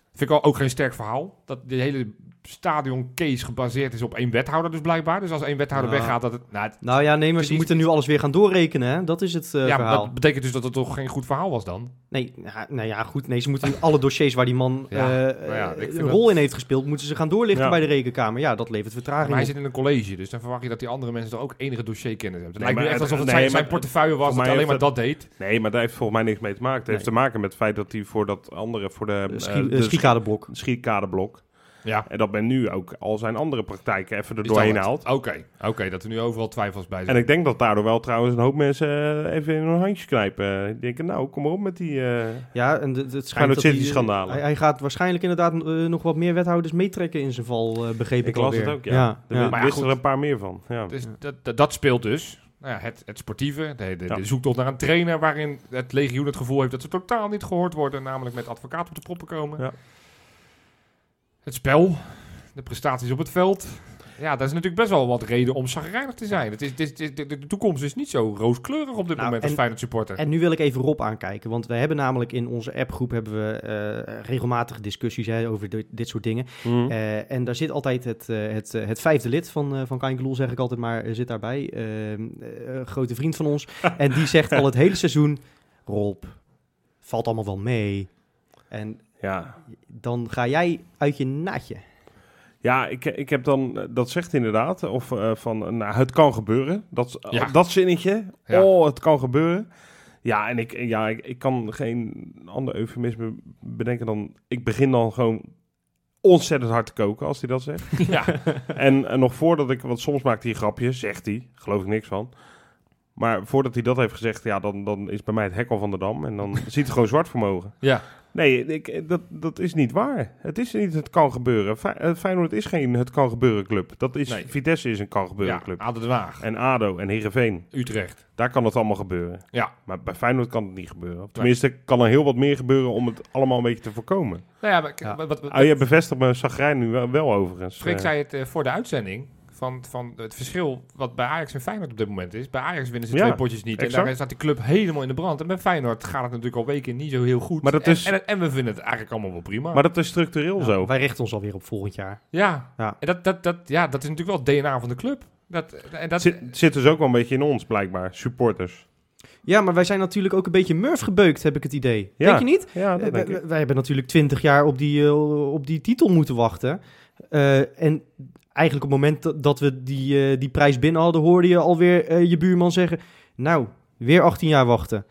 vind ik wel ook geen sterk verhaal. Dat de hele stadioncase gebaseerd is op één wethouder dus blijkbaar. Dus als één wethouder
Ja.
weggaat, dat het... Nou, het-
Nou ja, nee, maar
Het
ze
is-
moeten nu alles weer gaan doorrekenen, hè? Dat is het eh,
ja, maar
verhaal.
dat betekent dus dat het toch geen goed verhaal was dan?
Nee, nou, nou ja, goed. Nee, ze moeten nu alle dossiers waar die man
Ja,
eh,
nou ja, ik
eh,
vind
een rol
dat-
in heeft gespeeld, moeten ze gaan doorlichten
Ja.
bij de rekenkamer. Ja, dat levert vertraging
Maar hij
op.
zit in een college, dus dan verwacht je dat die andere mensen toch ook enige dossierkennis hebben. Het
Nee,
lijkt me
maar
echt
het-
alsof het
nee,
zijn,
maar-
zijn portefeuille was
voor
dat
mij
alleen maar
heeft
dat deed.
Nee, maar daar heeft volgens mij niks mee te maken. Het heeft
Nee.
te maken met het feit dat hij voor dat andere, voor de,
Eh,
eh,
Schie- eh,
dus-
de
Schiekadeblok.
schi- schietkaderblok.
Ja.
En dat men nu ook al zijn andere praktijken even er
Is
doorheen
dat het?
haalt.
Oké, oké, dat er nu overal twijfels bij
En
zijn.
ik denk dat daardoor wel trouwens een hoop mensen eh, even in hun handjes knijpen. Die denken, nou, kom maar op met die... eh,
Ja, en de- de- het schijnt
Feyenoord
dat
City
hij,
schandalen.
Hij, hij gaat waarschijnlijk inderdaad eh, nog wat meer wethouders meetrekken in zijn val, eh, begreep ik,
Ik las
alweer.
het ook, ja. Er
ja.
wi-
Maar ja,
wist
goed.
er een paar meer van. Ja.
Dus dat, dat, dat speelt dus. Nou ja, het, het sportieve, de, de,
Ja.
de zoektocht naar een trainer waarin het legioen het gevoel heeft dat ze totaal niet gehoord worden. Namelijk met advocaat op de proppen komen.
Ja.
Het spel, de prestaties op het veld. Ja, daar is natuurlijk best wel wat reden om chagrijnig te zijn. Het is, het is, het is- de, de toekomst is niet zo rooskleurig op dit
Nou,
moment als
en-
Feyenoord supporter.
En nu wil ik even Rob aankijken, want we hebben namelijk in onze appgroep hebben we eh, regelmatig discussies hè, over dit- dit soort dingen.
Mm.
Eh, en daar zit altijd het, eh, het, eh, het vijfde lid van, eh van Kainkeloel, zeg ik altijd maar, eh, zit daarbij. Ehm, eh, een grote vriend van ons. en die zegt al het hele seizoen, Rob, valt allemaal wel mee. En
ja.
dan ga jij uit je naadje.
Ja, ik, ik heb dan, eh, dat zegt inderdaad, of eh, van, eh, nou, het kan gebeuren. Dat, eh,
Ja.
dat zinnetje,
Ja.
oh, het kan gebeuren. Ja, en ik, ja, ik, ik kan geen ander eufemisme bedenken dan, ik begin dan gewoon ontzettend hard te koken als hij dat zegt.
ja.
En, en nog voordat ik, want soms maakt hij een grapje, zegt hij, geloof ik niks van. Maar voordat hij dat heeft gezegd, ja, dan, dan is bij mij het hek al van de dam. En dan ziet het gewoon zwart vermogen.
ja.
Nee, ik, eh, dat, dat is niet waar. Het is niet het kan gebeuren. Fey- eh, Feyenoord is geen het kan gebeuren club. Dat is,
Nee.
Vitesse is een kan gebeuren
ja.
club.
Aden Den Haag,
En ADO en Heerenveen,
Utrecht.
daar kan het allemaal gebeuren.
Ja.
Maar bij Feyenoord kan het niet gebeuren. Of Tenminste, kan er heel wat meer gebeuren om het allemaal een beetje te voorkomen.
Nou ja, maar, k-
Ja.
Wat, wat,
Oh, je bevestigt mijn zagrijn nu wel, wel overigens.
Freek
Eh,
zei het eh, voor de uitzending. Van, van het verschil wat bij Ajax en Feyenoord op dit moment is. Bij Ajax winnen ze
Ja,
twee potjes niet.
exact.
En daar staat de club helemaal in de brand. En bij Feyenoord gaat het natuurlijk al weken niet zo heel goed.
Maar dat
en,
is-
en, en we vinden het eigenlijk allemaal wel prima.
Maar dat is structureel
Ja,
zo.
Nou, Wij richten ons alweer op volgend jaar.
ja.
Ja.
En dat, dat, dat, ja, dat is natuurlijk wel het DNA van de club. Dat, en dat,
Zit, zit dus ook wel een beetje in ons, blijkbaar. Supporters.
Ja, maar wij zijn natuurlijk ook een beetje Murf gebeukt, heb ik het idee.
Ja.
Denk je niet?
Ja, dat
Eh,
denk
wij-
ik.
wij hebben natuurlijk twintig jaar op die, eh, op die titel moeten wachten. Eh, en eigenlijk op het moment dat- dat we die, eh, die prijs binnen hadden, hoorde je alweer eh, je buurman zeggen: Nou, weer 18 jaar wachten.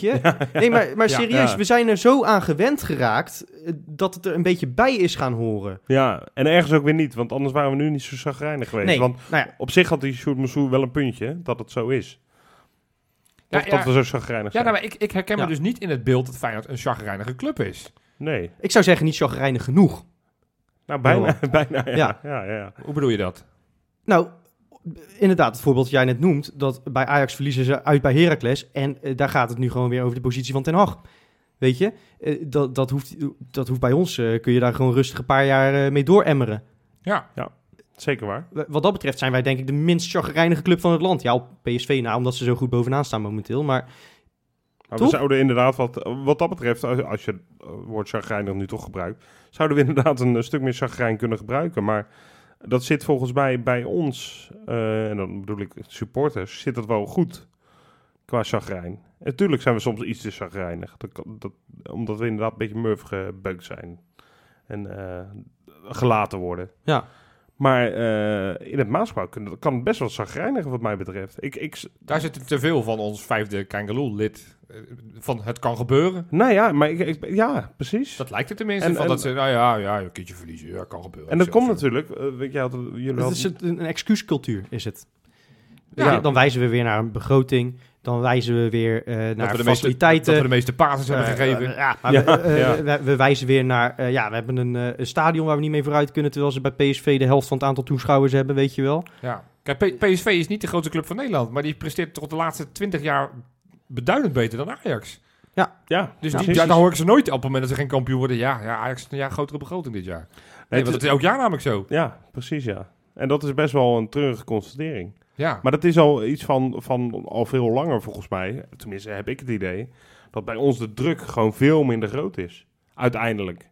je? Nee, maar, maar
Ja,
serieus,
ja.
we zijn er zo aan gewend geraakt eh, dat het er een beetje bij is gaan horen.
Ja, en ergens ook weer niet, want anders waren we nu niet zo zagrijnig geweest.
Nee,
Want
nou ja,
op zich had die Sjoerd Mansour wel een puntje, hè, dat het zo is.
Ja,
Of
ja.
dat we zo zagrijnig
ja,
zijn.
nou, maar ik, ik herken
Ja.
me dus niet in het beeld dat Feyenoord een chagrijnige club is.
Nee,
ik zou zeggen, niet chagrijnig genoeg.
nou bijna, bijna ja.
Ja.
Ja. Ja, ja.
Hoe bedoel je dat?
Nou, inderdaad, het voorbeeld dat jij net noemt, dat bij Ajax verliezen ze uit bij Heracles. En eh, daar gaat het nu gewoon weer over de positie van Ten Hag. Weet je, Eh, dat, dat, hoeft, dat hoeft bij ons, eh, kun je daar gewoon rustig een paar jaar eh, mee dooremmeren.
Ja.
Zeker waar.
Wa- Wat dat betreft zijn wij denk ik de minst chagrijnige club van het land. Ja, op PSV na, nou, omdat ze zo goed bovenaan staan momenteel. Maar
Maar
Toch?
Nou, we zouden inderdaad, wat, wat dat betreft, als, als je het woord chagrijnig nu toch gebruikt, zouden we inderdaad een, eh, stuk meer chagrijn kunnen gebruiken. Maar dat zit volgens mij bij ons, eh, en dan bedoel ik supporters, zit dat wel goed qua chagrijn. Natuurlijk zijn we soms iets te chagrijnig, dat, kan- dat, omdat we inderdaad een beetje murf gebeukt zijn en eh, gelaten worden.
Ja.
Maar eh, in het Maasbouw kan, kan het best wel chagrijnig wat mij betreft. Ik, ik,
Daar zitten te veel van ons vijfde Kangaloo-lid. eh, Van het kan gebeuren.
nou ja, maar ik, ik- ja, precies.
Dat lijkt het tenminste.
En-
van
en-
dat ze, nou ja, ja, een keertje verliezen. Ja, kan gebeuren.
En dat komt
Zelfs-
natuurlijk, eh, weet je, hadden, jullie
het
hadden-
is een, een excuuscultuur, is het.
Ja.
Ja, Dan wijzen we weer naar een begroting. Dan wijzen we weer eh,
Dat
naar
we de
faciliteiten.
Meeste, dat we de meeste passes hebben
Eh,
gegeven.
eh, ja, maar
Ja,
we, eh,
ja.
we- we wijzen weer naar... eh, ja, we hebben een, eh, een stadion waar we niet mee vooruit kunnen... terwijl ze bij PSV de helft van het aantal toeschouwers hebben, weet je wel.
ja. Kijk, P- PSV is niet de grootste club van Nederland. Maar die presteert toch de laatste 20 jaar beduidend beter dan Ajax.
Ja,
Dus
ja,
die,
precies.
daar hoor ik ze nooit op het moment dat ze geen kampioen worden. Ja, ja Ajax heeft een jaar grotere begroting dit jaar. Nee,
Nee,
want
het
dat
is-
is elk jaar namelijk zo.
ja, precies, ja. En dat is best wel een treurige constatering.
Ja.
Maar dat is al iets van, van al veel langer volgens mij. Tenminste heb ik het idee. Dat bij ons de druk gewoon veel minder groot is. Uiteindelijk.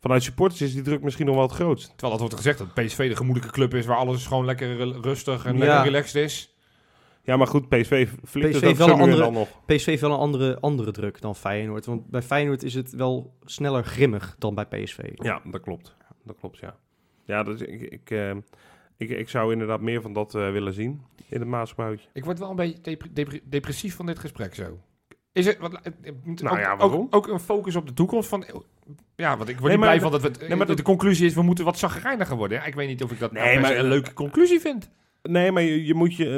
Vanuit supporters is die druk misschien nog wel het grootst.
Terwijl dat wordt gezegd dat PSV de gemoedelijke club is... waar alles gewoon lekker rel- rustig en
Ja.
lekker relaxed is.
Ja, maar goed, PSV flikt
PSV
het ook
heeft wel
zo
een
nu en
andere-
dan nog.
PSV heeft wel een andere, andere druk dan Feyenoord. Want bij Feyenoord is het wel sneller grimmig dan bij PSV.
Ja, dat klopt. Dat klopt, ja. Ja, dus ik, ik, eh, ik, ik zou inderdaad meer van dat eh, willen zien in het Maasbouwtje.
Ik word wel een beetje depre- depre- depressief van dit gesprek zo. Is er, wat, eh, eh, moet
Nou
ook,
ja,
ook-
waarom?
Ook, een focus op de toekomst van... eh, Ja, want ik word
Nee,
niet
maar
blij
dat-
van dat we...
nee, maar
de,
dat-
de conclusie is, we moeten wat zagrijniger worden. Ja, ik weet niet of ik dat nou
Nee,
per
maar-
se een leuke conclusie vind.
Nee, maar je, je moet je...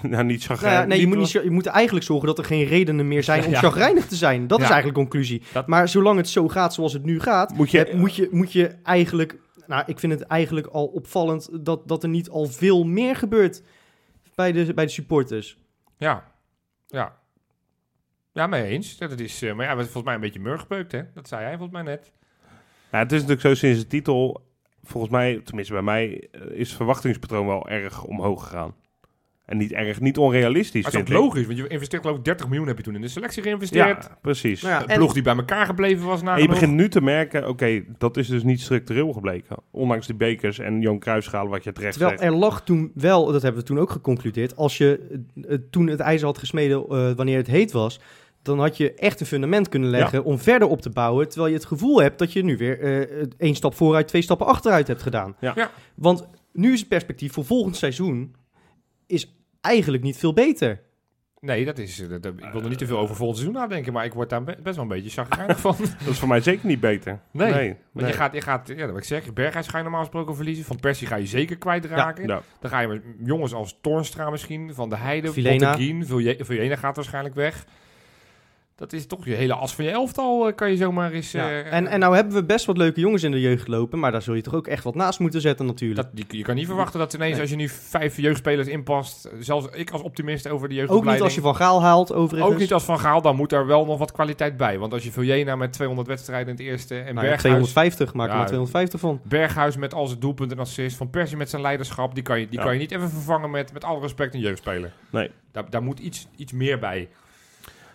eh, nou, niet zo
Nou ja, nee, je moet, niet, je moet eigenlijk zorgen dat er geen redenen meer zijn om
Ja.
chagrijnig te zijn. Dat
Ja.
is eigenlijk de conclusie.
Dat-
Maar zolang het zo gaat zoals het nu gaat,
Moet je-
heb- moet, je, moet je eigenlijk... Nou, ik vind het eigenlijk al opvallend dat, dat er niet al veel meer gebeurt bij de, bij de supporters.
Ja, ja. Ja, mee eens. Dat het is, eh, maar ja, we zijn volgens mij een beetje murgebeukt, hè? Dat zei hij volgens mij net.
Ja, het is natuurlijk zo sinds de titel, volgens mij, tenminste bij mij, eh, is het verwachtingspatroon wel erg omhoog gegaan. En niet erg, niet onrealistisch.
Maar het is ook
vind ik.
logisch, want je investeert geloof ik 30 miljoen heb je toen in de selectie geïnvesteerd.
Ja, precies.
Nou ja,
Een ploeg die bij elkaar gebleven was na
En je begint nu te merken, oké, dat is dus niet structureel gebleken. Ondanks die bekers en Joon Cruijffschalen, wat je terecht
Terwijl
zegt.
er lag toen wel, dat hebben we toen ook geconcludeerd, als je eh, eh, toen het ijzer had gesmeden eh, wanneer het heet was, dan had je echt een fundament kunnen leggen om verder op te bouwen, terwijl je het gevoel hebt dat je nu weer eh, één stap vooruit, twee stappen achteruit hebt gedaan.
Ja.
Ja.
Want nu is het perspectief voor volgend seizoen is eigenlijk niet veel beter.
Nee, dat is, eh, dat- dat- ik wil er niet te veel over volgend seizoen nadenken, maar ik word daar be- best wel een beetje chagrijnig van.
Dat is voor mij zeker niet beter.
Nee,
nee.
Want je gaat, je gaat ja, dat wil ik zeggen, Berghuis ga je normaal gesproken verliezen. Van Persie ga je zeker kwijtraken.
nou.
Ja.
Dan ga je met jongens als Toornstra misschien, Van de Heide,
Vilena.
Botteguin, Vilje- Vilena gaat waarschijnlijk weg. Dat is toch je hele as van je elftal, eh, kan je zomaar eens...
Ja.
eh,
En, en nou hebben we best wat leuke jongens in de jeugd lopen, maar daar zul je toch ook echt wat naast moeten zetten natuurlijk.
dat, je, je kan niet verwachten dat ineens
Nee.
als je nu vijf jeugdspelers inpast, zelfs ik als optimist over de
ook niet
jeugdopleiding...
als je Van Gaal haalt overigens.
Ook niet als Van Gaal, dan moet er wel nog wat kwaliteit bij. Want als je Viljena met 200 wedstrijden in het eerste en
Nou ja,
Berghuis,
250, maak er
Ja,
maar 250 van.
Berghuis met al zijn doelpunten en assist, Van Persie met zijn leiderschap, die kan je, die
Ja.
kan je niet even vervangen met, met alle respect een jeugdspeler.
Nee.
Daar, daar moet iets, iets meer bij.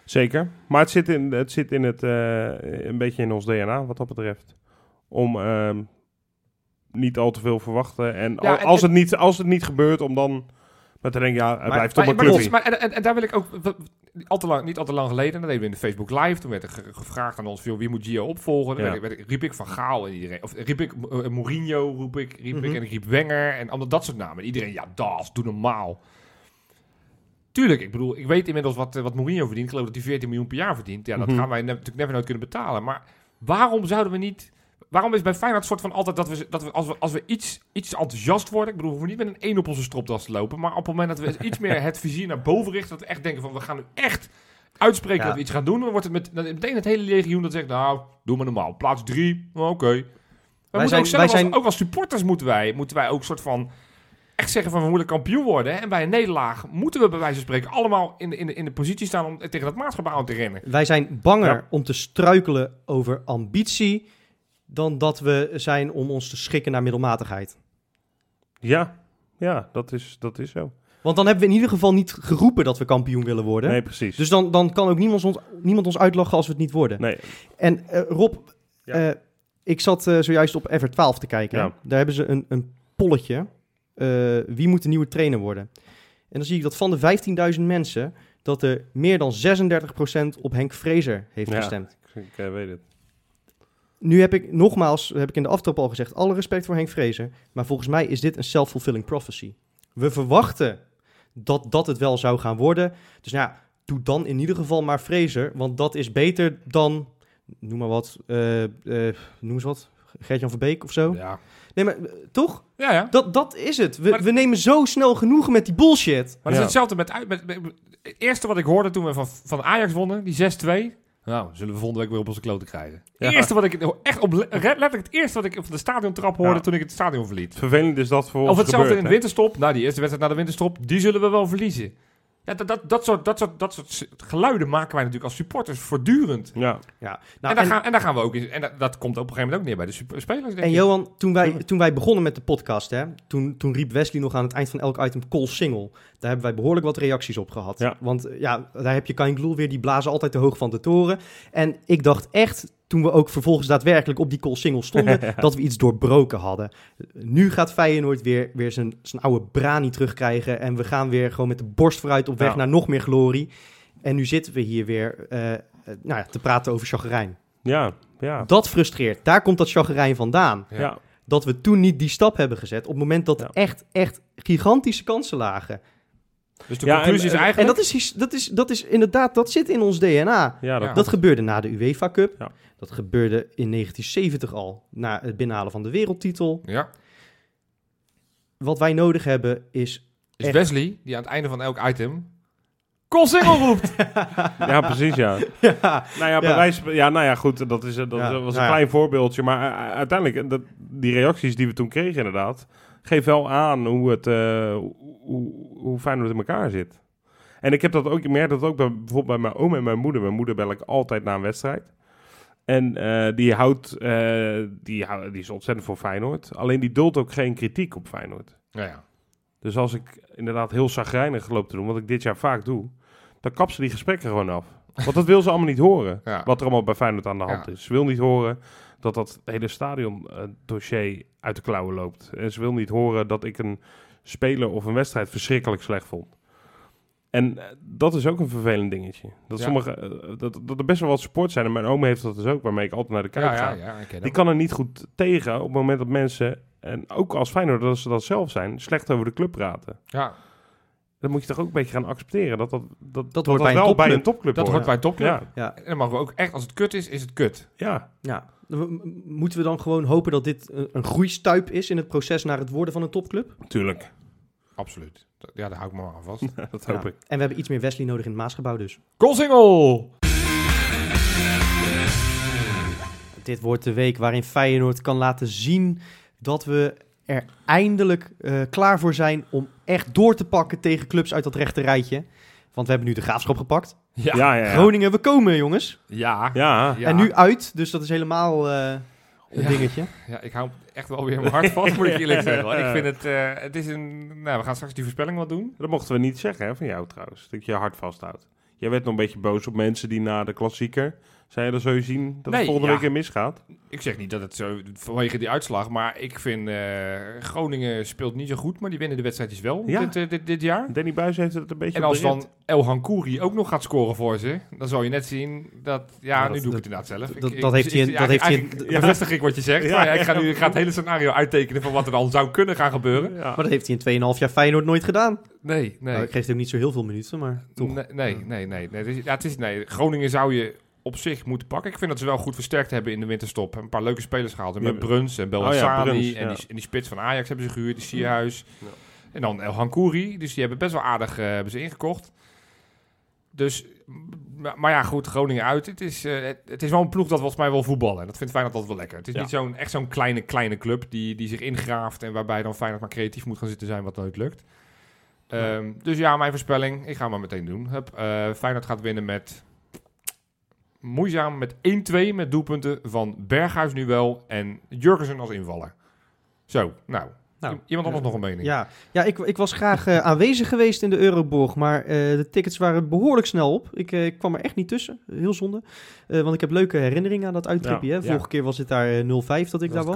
Zeker. Maar het zit, in, het zit in het, eh, een beetje in ons DNA wat dat betreft. Om ehm, niet al te veel verwachten. En, al-
en-
als, het niet, als het niet gebeurt, om dan met te denken, ja, het blijft toch
maar,
een
maar,
clubje.
maar- en, en, en daar wil ik ook... w- w- Al te lang, niet al te lang geleden, dat deden we in de Facebook Live. Toen werd er ge- gevraagd aan ons, joh, wie moet Gio opvolgen? Dan
Ja.
werd ik- werd ik- riep ik Van Gaal en iedereen. Of riep ik eh, Mourinho, roep ik, riep
Mhm.
ik. En ik riep Wenger en allemaal dat soort namen. En iedereen, ja, das, doe normaal. Tuurlijk, ik bedoel, ik weet inmiddels wat, eh, wat Mourinho verdient. Ik geloof dat hij 14 miljoen per jaar verdient. Ja, dat
Mhm.
gaan wij ne- natuurlijk never nooit kunnen betalen. Maar waarom zouden we niet... Waarom is bij Feyenoord soort van altijd dat we, dat we als we, als we iets, iets enthousiast worden... Ik bedoel, we hoeven niet met een één op onze stropdas te lopen... maar op het moment dat we eens iets meer het vizier naar boven richten... dat we echt denken van, we gaan nu echt uitspreken
Ja.
dat we iets gaan doen... dan wordt het met, dan meteen het hele legioen dat zegt... nou, doe maar normaal, plaats drie, oh, oké. We moeten
zijn-
ook zelf,
wij zijn-
als, ook als supporters moeten wij, moeten wij ook soort van... echt zeggen van, we moeten kampioen worden... hè. en bij een nederlaag moeten we bij wijze van spreken... allemaal in de, in de, in de positie staan om tegen dat maatschappij aan te rennen.
Wij zijn banger
Ja.
om te struikelen over ambitie dan dat we zijn om ons te schikken naar middelmatigheid.
Ja, ja dat, is, dat is zo.
Want dan hebben we in ieder geval niet geroepen dat we kampioen willen worden.
Nee, precies.
Dus dan, dan kan ook niemand ons, niemand ons uitlachen als we het niet worden.
nee,
En eh, Rob,
Ja.
eh, ik zat eh, zojuist op Ever 12 te kijken.
Ja.
Daar hebben ze een, een polletje. Eh, wie moet de nieuwe trainer worden? En dan zie ik dat van de 15.000 mensen... dat er meer dan 36% op Henk Fraser heeft
Ja.
gestemd.
ik, ik, eh, weet het.
Nu heb ik, nogmaals, heb ik in de aftrap al gezegd... alle respect voor Henk Fraser... maar volgens mij is dit een self-fulfilling prophecy. We verwachten dat dat het wel zou gaan worden. Dus nou ja, doe dan in ieder geval maar Fraser... want dat is beter dan, noem maar wat... eh, eh, noem eens wat, Gert-Jan Verbeek of zo.
Ja,
Nee, maar eh, toch?
ja, ja.
Dat, dat is het. We,
Maar-
we nemen zo snel genoegen met die bullshit.
Maar dat
Ja.
is hetzelfde met, uit- met, met- met- Het eerste wat ik hoorde toen we van, van Ajax wonnen, die 6-2. Nou, zullen we volgende week weer op onze kloten krijgen. Het
Ja.
eerste wat ik... Echt op, le- letterlijk het eerste wat ik van de stadiontrap hoorde
Ja.
toen ik het stadion verliet.
Vervelend is dat voor
Of
ons
hetzelfde
gebeurd,
in
hè?
de winterstop. Nou, die eerste wedstrijd na de winterstop, die zullen we wel verliezen. Ja, dat, dat, dat, soort, dat, soort, dat soort geluiden maken wij natuurlijk als supporters voortdurend.
Ja,
Ja.
en,
Nou,
daar
en,
gaan, en daar gaan we ook in. En dat, dat komt op een gegeven moment ook neer bij de sup- spelers. Denk
en
ik.
Johan, toen wij, toen wij begonnen met de podcast... Hè, toen, toen riep Wesley nog aan het eind van elk item call single. Daar hebben wij behoorlijk wat reacties op gehad.
Ja.
Want eh, ja, daar heb je Kain Gloel weer, die blazen altijd te hoog van de toren. En ik dacht echt, toen we ook vervolgens daadwerkelijk op die call single stonden... dat we iets doorbroken hadden. Nu gaat Feyenoord weer, weer zijn, zijn oude brani terugkrijgen... en we gaan weer gewoon met de borst vooruit op weg
Ja.
naar nog meer glorie. En nu zitten we hier weer eh, eh, nou ja, te praten over chagrijn.
ja, ja.
Dat frustreert. Daar komt dat chagrijn vandaan.
Ja,
Ja.
ja.
Dat we toen niet die stap hebben gezet. Op het moment dat er
Ja.
echt, echt gigantische kansen lagen.
Dus de
Ja, en-
conclusie
en-
is eigenlijk...
En dat is, his- dat, is, dat is inderdaad, dat zit in ons DNA.
dat,
Ja.
Dat gebeurde na de UEFA Cup.
Ja.
Dat gebeurde in 1970 al. Na het binnenhalen van de wereldtitel.
Ja, wat,
Wat wij nodig hebben is...
is
echt-
Wesley, die aan het einde van elk item... Call single roept!
Ja, precies, ja.
Ja,
Nou ja, bij
Ja.
wijze van- ja, nou ja, goed, dat, is, dat
Ja,
was een
nou ja.
klein voorbeeldje. Maar eh, uiteindelijk, eh, dat, die reacties die we toen kregen inderdaad, geeft wel aan hoe, het, eh, hoe, hoe fijn het in elkaar zit. En ik heb dat ook, ik merk dat ook bij, bijvoorbeeld bij mijn oom en mijn moeder. Mijn moeder bel ik altijd na een wedstrijd. En eh, die, houdt, eh, die, hou- die is ontzettend voor Feyenoord. Alleen die duldt ook geen kritiek op Feyenoord.
Ja, ja.
Dus als ik inderdaad heel zagrijnig loop te doen, wat ik dit jaar vaak doe, dan kap ze die gesprekken gewoon af. Want dat wil ze allemaal niet horen.
Ja.
Wat er allemaal bij Feyenoord aan de hand
Ja.
is. Ze wil niet horen dat dat hele stadion-dossier uit de klauwen loopt. En ze wil niet horen dat ik een speler of een wedstrijd verschrikkelijk slecht vond. En eh, dat is ook een vervelend dingetje. Dat,
Ja.
sommige, eh, dat, dat er best wel wat support zijn. En mijn oom heeft dat dus ook, waarmee ik altijd naar de kijk
ja,
ga.
ja, ja, ik ken
Die
hem.
kan er niet goed tegen op het moment dat mensen, en ook als Feyenoord dat ze dat zelf zijn, slecht over de club praten.
Ja,
Dan moet je toch ook een beetje gaan accepteren dat dat, dat, dat,
hoort bij een
wel bij
topclub.
een topclub
Dat hoort bij een topclub.
Ja,
En dan mogen we ook echt, als het kut is, is het kut.
ja.
Ja. M- m- Moeten we dan gewoon hopen dat dit een, een groeistuip is in het proces naar het worden van een topclub?
natuurlijk.
Absoluut. Dat- Ja, daar hou ik me maar aan vast.
dat hoop
Ja.
ik.
En we hebben iets meer Wesley nodig in het Maasgebouw dus.
Koolsingel!
Dit wordt de week waarin Feyenoord kan laten zien dat we er eindelijk eh, klaar voor zijn om echt door te pakken tegen clubs uit dat rechte rijtje. Want we hebben nu de graafschap gepakt.
Ja. Ja.
Ja, ja, ja.
Groningen, we komen jongens.
Ja.
Ja.
Ja.
En nu uit, dus dat is helemaal eh, een
Ja.
dingetje.
ik hou echt wel weer mijn hart vast, moet ik eerlijk zeggen. hoor. Ik vind het, eh, het is een... Nou, we gaan straks die voorspelling wat doen.
Dat mochten we niet zeggen hè, van jou trouwens, dat je je hart vasthoudt. Jij werd nog een beetje boos op mensen die na de klassieker zeiden, zo zien dat
Nee,
het volgende
ja.
week weer misgaat.
Ik zeg niet dat het zo vanwege die uitslag, maar ik vind eh, Groningen speelt niet zo goed, maar die winnen de wedstrijdjes wel
Ja.
dit, eh, dit, dit jaar.
Danny Buis heeft het een beetje
En
op
als
de rit.
dan El Hankouri ook nog gaat scoren voor ze, dan zal je net zien dat... Ja,
Ja,
nu
dat-
doe
dat-
ik het inderdaad zelf. Ik-
dat-
ik-
dat heeft
ik-
hij-
ik-
dat heeft hij-
eigenlijk Bevestig ik wat je zegt,
Ja,
maar ja, ik, ga
ja.
nu, ik ga het hele scenario uittekenen van wat er dan zou kunnen gaan gebeuren.
Ja.
Maar dat heeft hij in 2,5 jaar Feyenoord nooit gedaan.
Nee, nee.
Nou, ik geef hem niet zo heel veel minuten, maar toch.
Nee, nee, nee. nee, nee. Het is- ja, het is, nee. Groningen zou je op zich moeten pakken. Ik vind dat ze wel goed versterkt hebben in de winterstop. Een paar leuke spelers gehaald. En met
Ja.
Bruns en
Oh ja,
Belhassani.
Bruns,
eh, en,
ja.
die, en die spits van Ajax hebben ze gehuurd. Die Sierhuis.
Ja.
En dan El Hankouri. Dus die hebben best wel aardig eh, hebben ze ingekocht. Dus, maar, maar ja, goed. Groningen uit. Het is, eh, het, het is wel een ploeg dat volgens mij wel voetballen. En dat vindt Feyenoord altijd wel lekker. Het is
Ja.
niet zo'n, echt zo'n kleine, kleine club die, die zich ingraaft. En waarbij dan Feyenoord maar creatief moet gaan zitten zijn wat nooit lukt. Ehm, Dus ja, mijn voorspelling. Ik ga hem maar meteen doen. Hup, eh, Feyenoord gaat winnen met... Moeizaam met 1-2 met doelpunten van Berghuis nu wel en Jurgensen als invaller. Zo, nou.
Nou,
I- iemand anders nog een mening?
Ja, ja ik, ik was graag eh, aanwezig geweest in de Euroborg, maar eh, de tickets waren behoorlijk snel op. Ik eh, kwam er echt niet tussen, heel zonde. Eh, want ik heb leuke herinneringen aan dat uittripje.
Ja,
hè? Vorige
ja.
keer was het daar eh, 0-5 dat ik daar
was het
was.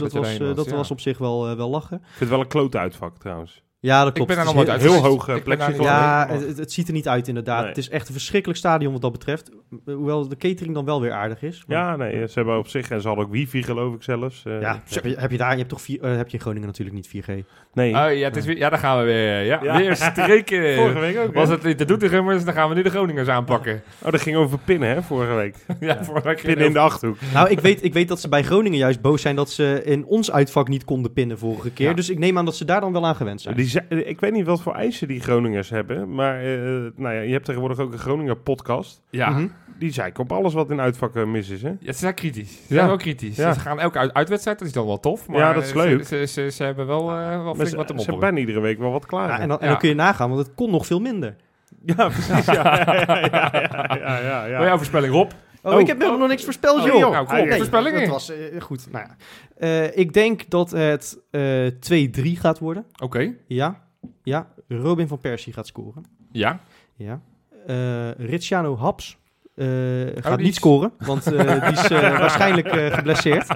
Dus dat,
dat je
was,
erheen
eh,
was,
dat
ja.
was op zich wel, eh, wel lachen.
Ik vind het wel een klote uitvak trouwens.
Ja, dat
Ik
klopt.
ben er nog
Het is
wat
heel-
uit.
heel hoog, eh,
Ik ben daar niet
plexiglas.
van.
Ja,
Maar-
het, het- het ziet er niet uit inderdaad.
Nee.
Het is echt een verschrikkelijk stadion wat dat betreft. Hoewel de catering dan wel weer aardig is. Maar-
Ja, nee, ze hebben op zich, en ze hadden ook wifi geloof ik zelfs. eh.
ja, dus heb, je, heb je daar, je hebt toch vier, eh, heb je in Groningen natuurlijk niet 4G.
Nee,
Oh, ja, het is weer, ja, daar gaan we weer. eh, Ja,
Ja.
Weer
vorige
streken.
week ook.
Was
hè?
het niet de Doetinchemmers, dan gaan we nu de Groningers aanpakken.
Oh, dat ging over pinnen hè, vorige week.
ja, vorige week ging
Pinnen in de Achterhoek.
Nou, ik weet, ik weet dat ze bij Groningen juist boos zijn dat ze in ons uitvak niet konden pinnen vorige keer.
Ja.
Dus ik neem aan dat ze daar dan wel aan gewend zijn.
Die ze- ik weet niet wat voor eisen die Groningers hebben, maar eh, nou ja, je hebt tegenwoordig ook een Groninger podcast.
Ja.
Mhm.
Die zei op alles wat in uitvakken mis is, hè?
Ja, ze zijn kritisch. Ze
Ja.
zijn wel kritisch.
Ja.
Ze gaan elke uit- uitwedstrijd, dat is dan wel tof. Maar
Ja, dat is
ze-
leuk.
Ze, ze, ze hebben wel, eh, wel
Maar ze,
flink wat te
ze hebben
mopperen.
bijna iedere week wel wat klaar.
Ja, en, dan, en
Ja.
dan kun je nagaan, want het kon nog veel minder.
Ja, precies. Ja, ja, ja, ja, ja, ja, ja.
Wil jouw voorspelling, Rob?
Oh,
Oh.
ik heb helemaal nog niks voorspeld,
Oh,
joh.
joh.
Nou, kom
Nee,
op, voorspellingen.
dat was eh, goed. Nou, ja. Eh, ik denk dat het eh 2-3 gaat worden.
Oké,
Ja. ja. Robin van Persie gaat scoren.
ja.
Ja. Eh Ricciano Haps eh, gaat
Oh, die
niet
is-
scoren, want eh, die is eh, waarschijnlijk eh, geblesseerd.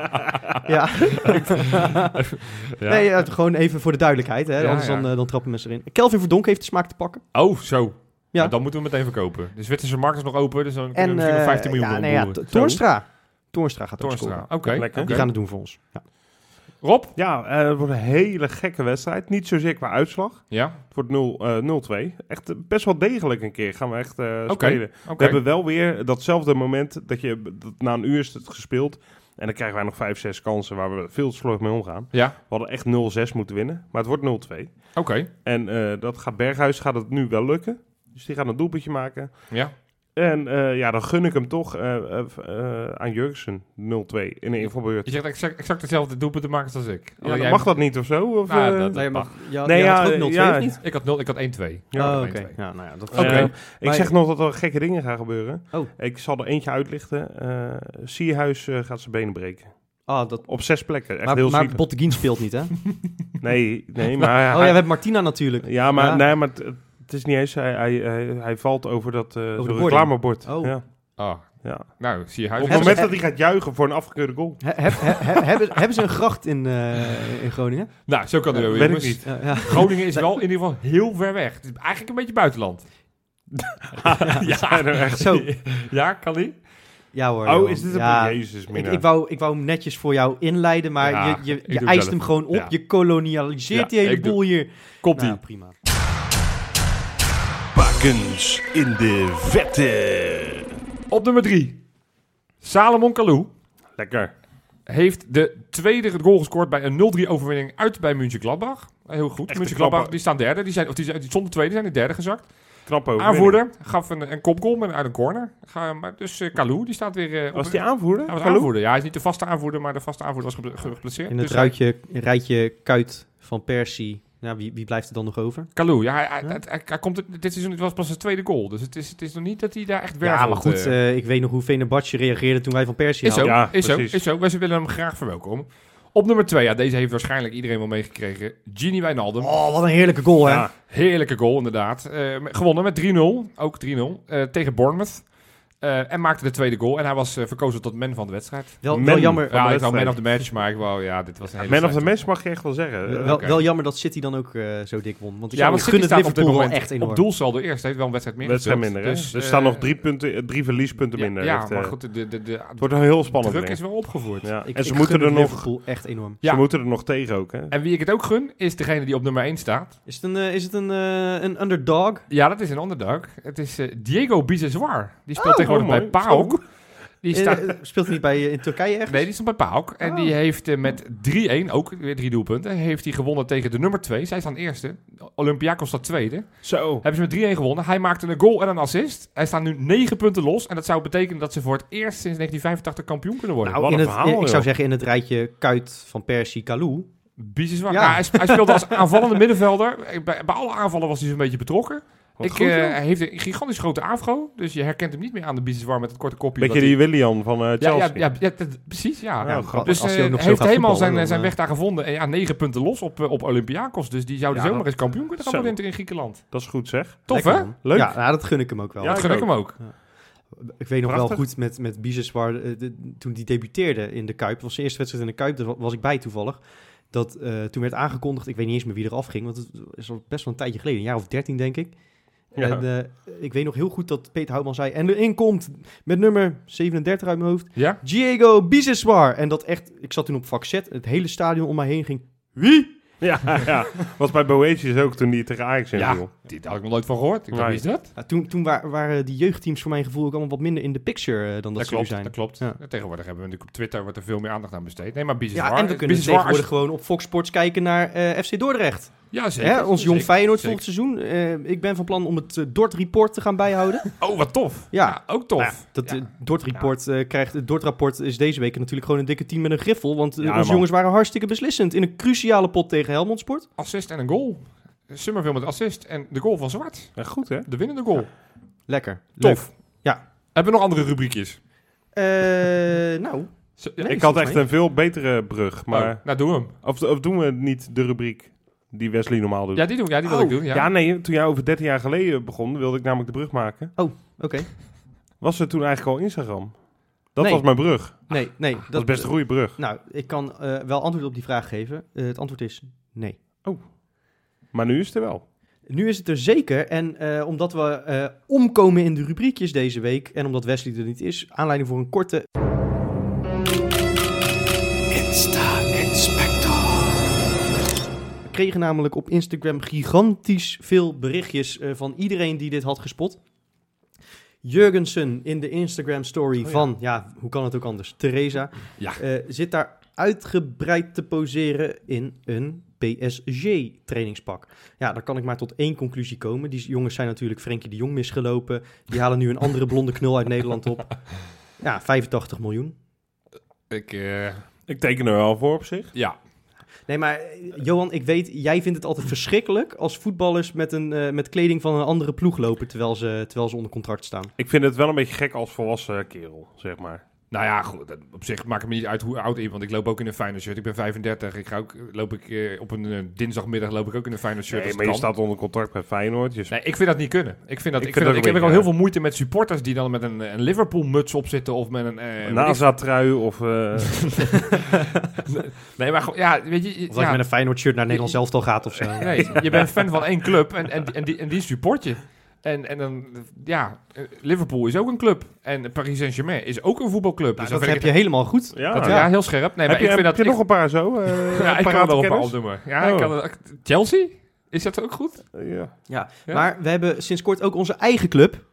ja.
Ja.
Nee, eh, gewoon even voor de duidelijkheid, hè?
Ja,
anders
ja.
Dan, eh, dan trappen mensen erin. Kelvin Verdonk heeft de smaak te pakken.
Oh, zo.
Ja.
Nou, dan moeten we meteen verkopen. De Zwitserse markt is nog open, dus dan kunnen we
En
misschien nog
eh,
15 miljoen
ja,
ja,
nee, ja,
omboeren.
T- Toornstra. Toornstra gaat ook
Toornstra,
scoren.
oké.
Lekker.
Die gaan het doen voor ons. Ja.
Rob?
Ja, eh, het wordt een hele gekke wedstrijd. Niet zozeer qua uitslag.
Ja,
Het wordt 0, eh, 0-2. Echt eh, best wel degelijk een keer gaan we echt eh,
oké.
spelen.
Oké.
We hebben wel weer datzelfde moment dat je dat na een uur is het gespeeld. En dan krijgen wij nog 5, 6 kansen waar we veel te slordig mee omgaan.
Ja,
We hadden echt 0-6 moeten winnen, maar het wordt 0-2.
oké.
En eh, dat gaat Berghuis gaat het nu wel lukken. Dus die gaat een doelpuntje maken.
Ja.
En eh, ja, dan gun ik hem toch eh, eh, eh, aan Jurgensen 0-2 in de invalbeurt.
Je zegt exact, exact hetzelfde doelpunt te maken als ik.
Ja,
Alleen
dan
jij-
mag dat niet of zo? Of,
Nou,
eh,
dat- Nee,
maar, ja,
Nee,
jij had
ja,
ook 0-2
ja.
of niet?
Ik had 0, ik had 1-2.
Ja,
Ja,
oké.
1-2.
Ja, nou ja, dat
Oké.
Eh,
Ik
Maar-
zeg nog dat er gekke dingen gaan gebeuren.
Oh.
Ik zal er eentje uitlichten. Eh Sierhuis eh, gaat zijn benen breken.
ah, dat,
Op zes plekken. Echt
maar
heel
maar
zielig.
Botteguin speelt niet, hè? oh
Nee, nee, maar...
ja,
hij-
we hebben Martina natuurlijk.
ja, maar,
Ja.
Nee, maar het, het is niet eens... Hij, hij, hij, hij valt over dat eh,
de
zo'n
boarding.
reclamebord.
Oh.
Ja,
Ah,
ja.
nou, zie je
Op
huis.
het moment dat hij gaat juigen voor een afgekeurde goal.
He- heb- he- he- hebben, hebben ze een gracht in, eh, in Groningen?
Nou, zo kan het
Ja,
wel.
weet ik
jongens.
niet.
Ja, ja.
Groningen is wel in ieder geval heel ver weg. Het is eigenlijk een beetje buitenland.
Ja, nou echt.
Zo.
Ja, kan die?
Ja hoor.
Oh,
Johan.
is dit een...
ja.
Jezus,
Ik,
mina.
ik, wou, ik wou hem netjes voor jou inleiden, maar
Ja,
je, je,
ik
je
doe
eist
zelf.
hem gewoon op.
Ja.
Je kolonialiseert
Ja,
die hele Nou,
ik doe-
boel hier.
Komt die.
Nou, prima.
Varkens in de vette.
Op nummer 3. Salomon Kalou
Lekker.
heeft de tweede goal gescoord bij een 0-3 overwinning uit bij München Gladbach. Heel goed.
Echte
München
knapper.
Gladbach, die staan derde. Die zijn, of die, zijn- die stonden tweede, die zijn in derde gezakt.
Knappe overwinning.
Aanvoerder gaf een, een kopgoal met uit een corner. Ga, maar, dus eh Kalou, die staat weer eh, op...
Was die aanvoerder?
Hij was
Kalou?
aanvoerder. Ja, hij is niet de vaste aanvoerder, maar de vaste aanvoerder was ge- ge- geplaatst.
In het
Dus hij-
ruitje, rijtje Kuit van Persie. Nou, wie, wie blijft er dan nog over?
eh, Kalou, ja, hij, hij,
Ja.
hij, hij- hij komt, dit seizoen het was pas zijn tweede goal. Dus het is, het is nog niet dat hij daar echt werkt.
ja, maar goed, eh, ik weet nog hoe Venerbahce reageerde toen wij van Persie
is zo,
haalden.
Ja,
is, zo,
precies.
is zo. Wij ze willen hem graag verwelkomen. Op nummer 2, ja, deze heeft waarschijnlijk iedereen wel meegekregen. Gini Wijnaldum.
Oh, wat een heerlijke goal, hè?
Ja.
Heerlijke goal, inderdaad. Eh, met- gewonnen met 3-0. Ook 3-0. eh, tegen Bournemouth. Eh, en maakte de tweede goal. En hij was eh, verkozen tot man van de wedstrijd.
Wel, wel
Men.
jammer,
Van de
Ja, ik wou
wedstrijd.
man of the match, maar ik wou... Ja, dit was een hele
Man of the
slechte.
match mag je echt wel zeggen.
wel,
Eh,
wel jammer dat City dan ook eh, zo dik won. Want ik
Ja, want
gun
City
het
staat op dit
Liverpool wel
moment
echt enorm.
op doelsaldo eerst. Heeft wel een wedstrijd meer
Wedstrijd
gespeeld.
minder, hè?
Dus,
er
eh,
staan nog drie, punten, eh, drie verliespunten
ja,
minder.
Ja,
Echt, eh,
maar goed, de, de, de, de
het wordt heel spannend.
druk
weer.
is wel opgevoerd.
Ja.
Ik,
en ze,
ik
moeten
gun
er
het
nog,
Liverpool echt enorm.
Ja.
ze moeten er nog tegen ook, hè?
En wie ik het ook gun, is degene die op nummer 1 staat.
Is het een, eh, is het een, eh, een underdog?
Ja, dat is een underdog. Het is eh, Diego Bizezoar. Die speelt tegenwoordig
oh, mooi.
bij PAOK. Die
Eh,
staat...
eh, speelt hij niet bij, eh, in Turkije echt?
Nee, die stond bij PAOK. En
Oh.
die heeft eh, met 3-1, ook weer drie doelpunten, heeft hij gewonnen tegen de nummer 2. Zij staan eerste. Olympiakos staat tweede.
Zo.
Hebben ze met 3-1 gewonnen. Hij maakte een goal en een assist. Hij staat nu 9 punten los. En dat zou betekenen dat ze voor het eerst sinds 1985 kampioen kunnen worden.
Nou, Wat
in
een
het,
verhaal,
eh, ik zou
joh.
zeggen in het rijtje Kuit van Persie Kalou.
Bizar.
Ja.
Ja. hij, sp- hij speelde als aanvallende middenvelder. Bij, bij alle aanvallen was hij zo'n beetje betrokken.
Wat
ik,
goed,
eh,
joh.
hij heeft een gigantisch grote afro. Dus je herkent hem niet meer aan de Bizar met het korte kopje.
Beetje die Willian van eh,
Ja, ja,
Chelsea.
ja, ja, dat- precies, ja.
Ja,
Nou,
grappig.
Dus
als
eh,
hij ook nog
hij
zo
heeft
gaat
helemaal
voetballen,
zijn,
dan,
zijn
eh,
weg daar gevonden. En ja, negen punten los op, eh, op Olympiakos. Dus die zouden
Ja,
zomaar
dat-
eens kampioen kunnen gaan
zo.
worden in het Griekenland.
Dat is goed, zeg.
Tof,
Lekker,
hè?
man.
Leuk.
Ja, nou, dat gun ik hem ook wel.
Ja,
dat gun ik hem ook.
Ik weet nog wel
Prachtig.
goed met, met Biseswar, eh, de- toen die debuteerde in de Kuip, dat was zijn eerste wedstrijd in de Kuip, daar wa- was ik bij toevallig. Dat eh, toen werd aangekondigd, ik weet niet eens meer wie er afging, want het is al best wel een tijdje geleden, een jaar of dertien denk ik.
Ja.
En eh, ik weet nog heel goed dat Peter Houtman zei, en erin komt met nummer 37 uit mijn hoofd,
Ja?
Diego Biseswar. En dat echt, ik zat toen op vak Z, het hele stadion om mij heen ging, wie?
Ja, ja. Was bij Boetius ook toen die tegen Ajax in
Ja, dit had ik nog nooit van gehoord. Ik dacht,
Nee.
wie is dat?
Nou, toen toen wa- waren die jeugdteams voor mijn gevoel ook allemaal wat minder in de picture eh, dan dat,
Dat
ze nu
klopt,
zijn.
dat klopt.
Ja.
Ja, Tegenwoordig hebben we natuurlijk op Twitter wordt er veel meer aandacht aan besteed. Nee, maar Bizar.
Ja, en we kunnen tegenwoordig gewoon op Fox Sports kijken naar eh, FC Dordrecht.
Ja, zeker.
Hè, ons jong
zeker.
Feyenoord
zeker.
volgend seizoen. Eh, ik ben van plan om het eh, Dort Report te gaan bijhouden.
Oh, wat tof.
Ja.
ook tof.
Nou
Dat
Ja.
eh, Dort Report eh, krijgt... Het Dort Rapport is deze week natuurlijk gewoon een dikke team met een griffel. Want eh,
Ja,
onze
man.
jongens waren hartstikke beslissend. In een cruciale pot tegen Helmond Sport.
Assist en een goal. Summerville met assist en de goal van Zwart.
Ja, goed, hè?
De winnende goal.
Lekker. Leuk.
Tof.
Ja.
Hebben we nog andere rubriekjes?
Eh, nou,
Z-
Nee,
Oh,
ik had
volgens
echt
mij.
een veel betere brug, maar...
nou, doe hem.
Of, of doen we niet de rubriek die Wesley normaal doet?
Ja, die doen. Ja, die wil
Oh,
ik doen.
Ja.
Ja.
nee, toen jij over 13 jaar geleden begon, wilde ik namelijk de brug maken.
oké.
Was er toen eigenlijk al Instagram? Dat
Nee.
was mijn brug. Dat,
Nee, nee. Dat,
Ah, was best een goede brug.
Nou, ik kan eh, wel antwoord op die vraag geven. Eh, het antwoord is nee.
Maar nu is het er wel.
Nu is het er zeker. En eh, omdat we eh, omkomen in de rubriekjes deze week. En omdat Wesley er niet is. Aanleiding voor een korte. We kregen namelijk op Instagram gigantisch veel berichtjes eh, van iedereen die dit had gespot. Jurgensen in de Instagram story
Oh ja.
van, ja, hoe kan het ook anders? Theresa
Ja.
eh, zit daar uitgebreid te poseren in een PSG-trainingspak. Ja, daar kan ik maar tot één conclusie komen. Die jongens zijn natuurlijk Frenkie de Jong misgelopen. Die halen nu een andere blonde knul uit Nederland op. Ja, 85 miljoen.
Ik, eh,
Ik teken er wel voor op zich.
ja.
Nee, maar eh, Johan, ik weet, jij vindt het altijd verschrikkelijk als voetballers met, een, eh, met kleding van een andere ploeg lopen terwijl ze, terwijl ze onder contract staan.
Ik vind het wel een beetje gek als volwassen kerel, zeg maar.
Nou ja, goed, dat- op zich maakt het me niet uit hoe oud ik ben, want ik loop ook in een Feyenoord shirt. Ik ben 35, ik ga ook, loop ik, eh, op een eh, dinsdagmiddag loop ik ook in een Feyenoord shirt.
Nee,
als
maar
het
je
kan.
staat onder contract bij Feyenoord. Je
Nee, ik vind dat niet kunnen. Ik, vind dat,
Ik vind
ik, vind
dat
dat, ik
ook
heb ook
een
al heel
beetje,
veel moeite met supporters die dan met een, eh, een Liverpool-muts opzitten of met een... eh, weet ik-
Nou, NASA-trui of... eh,
Nee, maar gewoon- ja, weet je... je-
Of dat
ja,
je met een Feyenoord shirt naar Nederland zelf al gaat of zo. Nou,
nee, je bent fan van één club en, en, en, die, en die support je. En, en dan, ja, eh, Liverpool is ook een club. En Paris Saint-Germain is ook een voetbalclub.
Nou,
dus dan
dat
vind
heb
ik
je helemaal goed.
ja.
het- dat- ja, heel scherp. Nee,
heb
maar
je,
ik vind
heb
dat,
je
ik-
nog een paar zo? eh,
Ja, ik kan er
paraat
wel een
kennis?
paar opnoemen. Ja, ik
Oh.
kan er- Chelsea? Is Is dat ook goed?
Ja.
Ja.
Ja.
Maar we hebben sinds kort ook onze eigen club.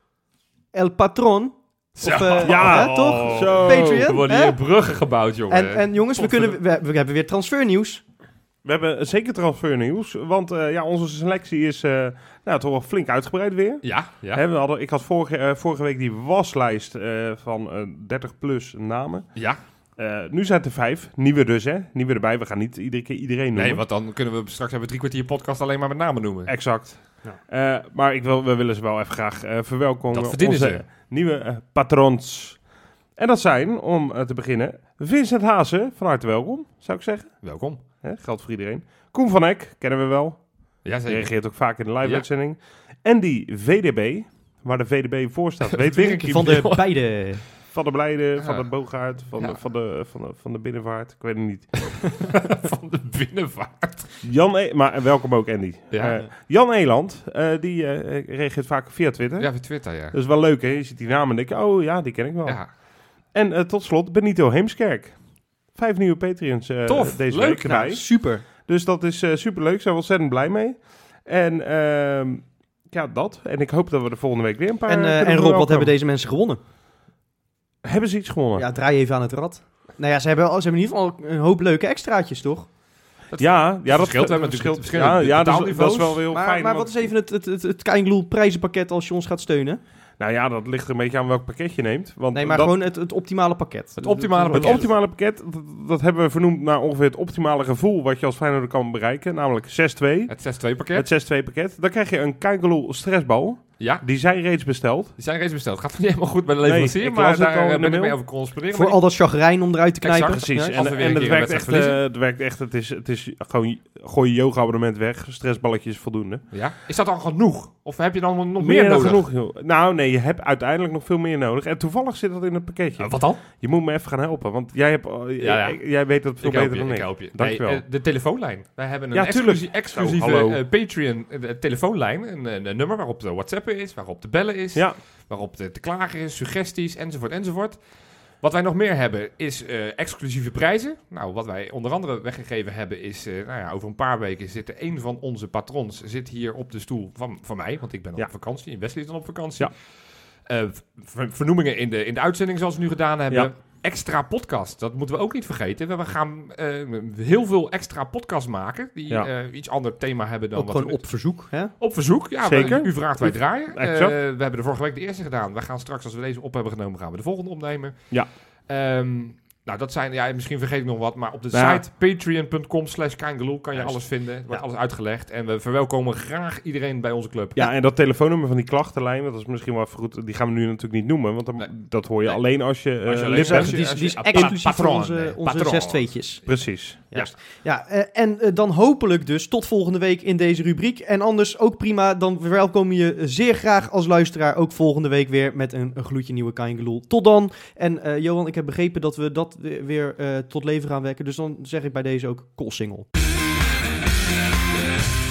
El Patron. Of, eh,
Ja, oh,
hè, toch?
Zo.
Patreon,
Er worden
hè?
hier bruggen gebouwd, jongen.
En, en jongens, we, kunnen, we, we hebben weer transfernieuws.
We hebben zeker transfernieuws, want eh, ja, onze selectie is eh, nou, toch wel flink uitgebreid weer.
Ja, ja.
Hè, we hadden, ik had vorige, eh, vorige week die waslijst eh, van eh, 30 plus namen.
ja.
Eh, nu zijn het er vijf, nieuwe dus hè, nieuwe erbij. We gaan niet iedere keer iedereen noemen.
Nee, want dan kunnen we straks hebben we drie kwartier podcast alleen maar met namen noemen.
Exact.
Ja.
Eh, maar ik wil, we willen ze wel even graag eh, verwelkomen.
Dat verdienen
Onze
ze.
Nieuwe eh, patrons. En dat zijn, om eh, te beginnen, Vincent Hazen, van harte welkom, zou ik zeggen.
Welkom.
Hè, geldt voor iedereen. Koen van Eck, kennen we wel.
Ja,
Hij
zeker.
reageert ook vaak in de
Ja.
live-uitzending. En die VDB, waar de VDB voor staat, weet ik.
Werk-
Van de beide.
Van de Blijde, van
Ja.
de Boogaard, van,
Ja.
de, van, de, van, de, van de Binnenvaart. Ik weet het niet.
Van de binnenvaart.
Jan, E- maar welkom ook Andy.
Ja.
Eh, Jan Eland, eh, die eh, reageert vaak via Twitter.
Ja, via Twitter, ja.
Dat is wel leuk, hè? Je ziet die naam en denk je, oh ja, die ken ik wel.
Ja,
En eh, tot slot Benito Heemskerk. Vijf nieuwe Patreons eh,
Tof,
deze
leuk,
week erbij.
nou,
Super.
Dus dat is eh superleuk, zijn we ontzettend blij mee. En ehm, ja, dat. En ik hoop dat we er volgende week weer een paar...
En, eh,
kunnen
en Rob, wat
verwelkomen.
hebben deze mensen gewonnen?
Hebben ze iets gewonnen? Ja,
Ja, draai even aan het rad. Nou ja, ze hebben, al- ze hebben in ieder geval een hoop leuke extraatjes, toch?
ja, dat
verschilt, hè, met de verschillende
ja, ja, dus- dat, is, dat
betaalniveaus.
is wel heel
maar,
fijn.
maar
want-
wat is even het, het, het, het Kein Loel prijzenpakket als je ons gaat steunen?
Nou ja, dat ligt er een beetje aan welk pakket je neemt. Want
Nee, maar
dat-
gewoon het, het optimale pakket.
Het optimale
het
pakket.
optimale pakket, dat, dat hebben we vernoemd naar ongeveer het optimale gevoel wat je als Feyenoord kan bereiken. Namelijk 6-2.
het 6-2 pakket.
Het 6-2 pakket. Dan krijg je een Kangaloo stressbal.
Ja,
Die zijn reeds besteld.
die zijn reeds besteld. Gaat nog niet helemaal goed bij de
Nee,
leverancier,
ik las
maar
het al
daar
in
eh,
de
ben ik
mail.
mee over conspireren.
Voor al dat chagrijn om eruit te
Exact,
knijpen.
Precies.
Ja.
als we
En,
weer een
en het,
keer
werkt
een
echt,
wedstrijd
eh, het werkt echt. Het is, het is gewoon, gooi je yoga-abonnement weg. Stressballetje is voldoende.
Ja? Is dat al genoeg? Of heb je dan nog meer,
dan
nodig?
genoeg, joh. Nou, nee, je hebt uiteindelijk nog veel meer nodig. En toevallig zit dat in het pakketje.
Eh, wat dan?
Je moet me even gaan helpen, want jij, hebt, al-
ja.
jij- jij weet dat veel
Ik help
beter
je,
dan
ik
ik.
help je. Nee,
Dankjewel.
eh, de telefoonlijn. Wij hebben een
Ja, tuurlijk. Nou,
exclusie- exclusieve
hallo.
eh, Patreon eh, de telefoonlijn. Een, eh, een, een nummer waarop de WhatsApp is, waarop de bellen is,
Ja.
waarop de te klagen is, suggesties, enzovoort, enzovoort. Wat wij nog meer hebben is eh, exclusieve prijzen. Nou, wat wij onder andere weggegeven hebben is, eh, nou ja, over een paar weken zit er een van onze patrons zit hier op de stoel van, van mij, want ik ben
Ja.
op vakantie en Wesley is dan op vakantie.
Ja.
Eh, ver- vernoemingen in de, in de uitzending zoals we nu gedaan hebben.
Ja.
Extra podcast, dat moeten we ook niet vergeten. We gaan eh, heel veel extra podcasts maken die
Ja.
eh, iets ander thema hebben dan
Ook
wat
gewoon
we-
op verzoek. Hè?
op verzoek. Ja,
Zeker.
we- u vraagt, wij draaien. Eh,
Exact.
we hebben de vorige week de eerste gedaan. We gaan straks, als we deze op hebben genomen, gaan we de volgende opnemen.
Ja.
Ehm, nou, dat zijn, ja, misschien vergeet ik nog wat, maar op de
Nou ja.
site patreon.com slash kangeloel kan je
Juist.
alles vinden. Er wordt alles uitgelegd en we verwelkomen graag iedereen bij onze club.
Ja, en dat telefoonnummer van die klachtenlijn, want dat is misschien wel even goed. Die gaan we nu natuurlijk niet noemen, want dan,
Nee.
dat hoor je
Nee.
alleen als je eh,
Als je alleen
lid bent.
bent.
Dus die,
je-
is-
als
die is
je-
exclusief voor
patron,
onze,
eh,
onze
patron.
zes tweetjes.
Precies.
Juist. Ja, eh, en eh, dan hopelijk dus tot volgende week in deze rubriek. En anders ook prima, dan verwelkom je zeer graag als luisteraar ook volgende week weer met een, een gloedje nieuwe Kaingeloel. Tot dan. En eh, Johan, ik heb begrepen dat we dat weer, weer, eh, tot leven gaan wekken. Dus dan zeg ik bij deze ook call single.
Bevrijding.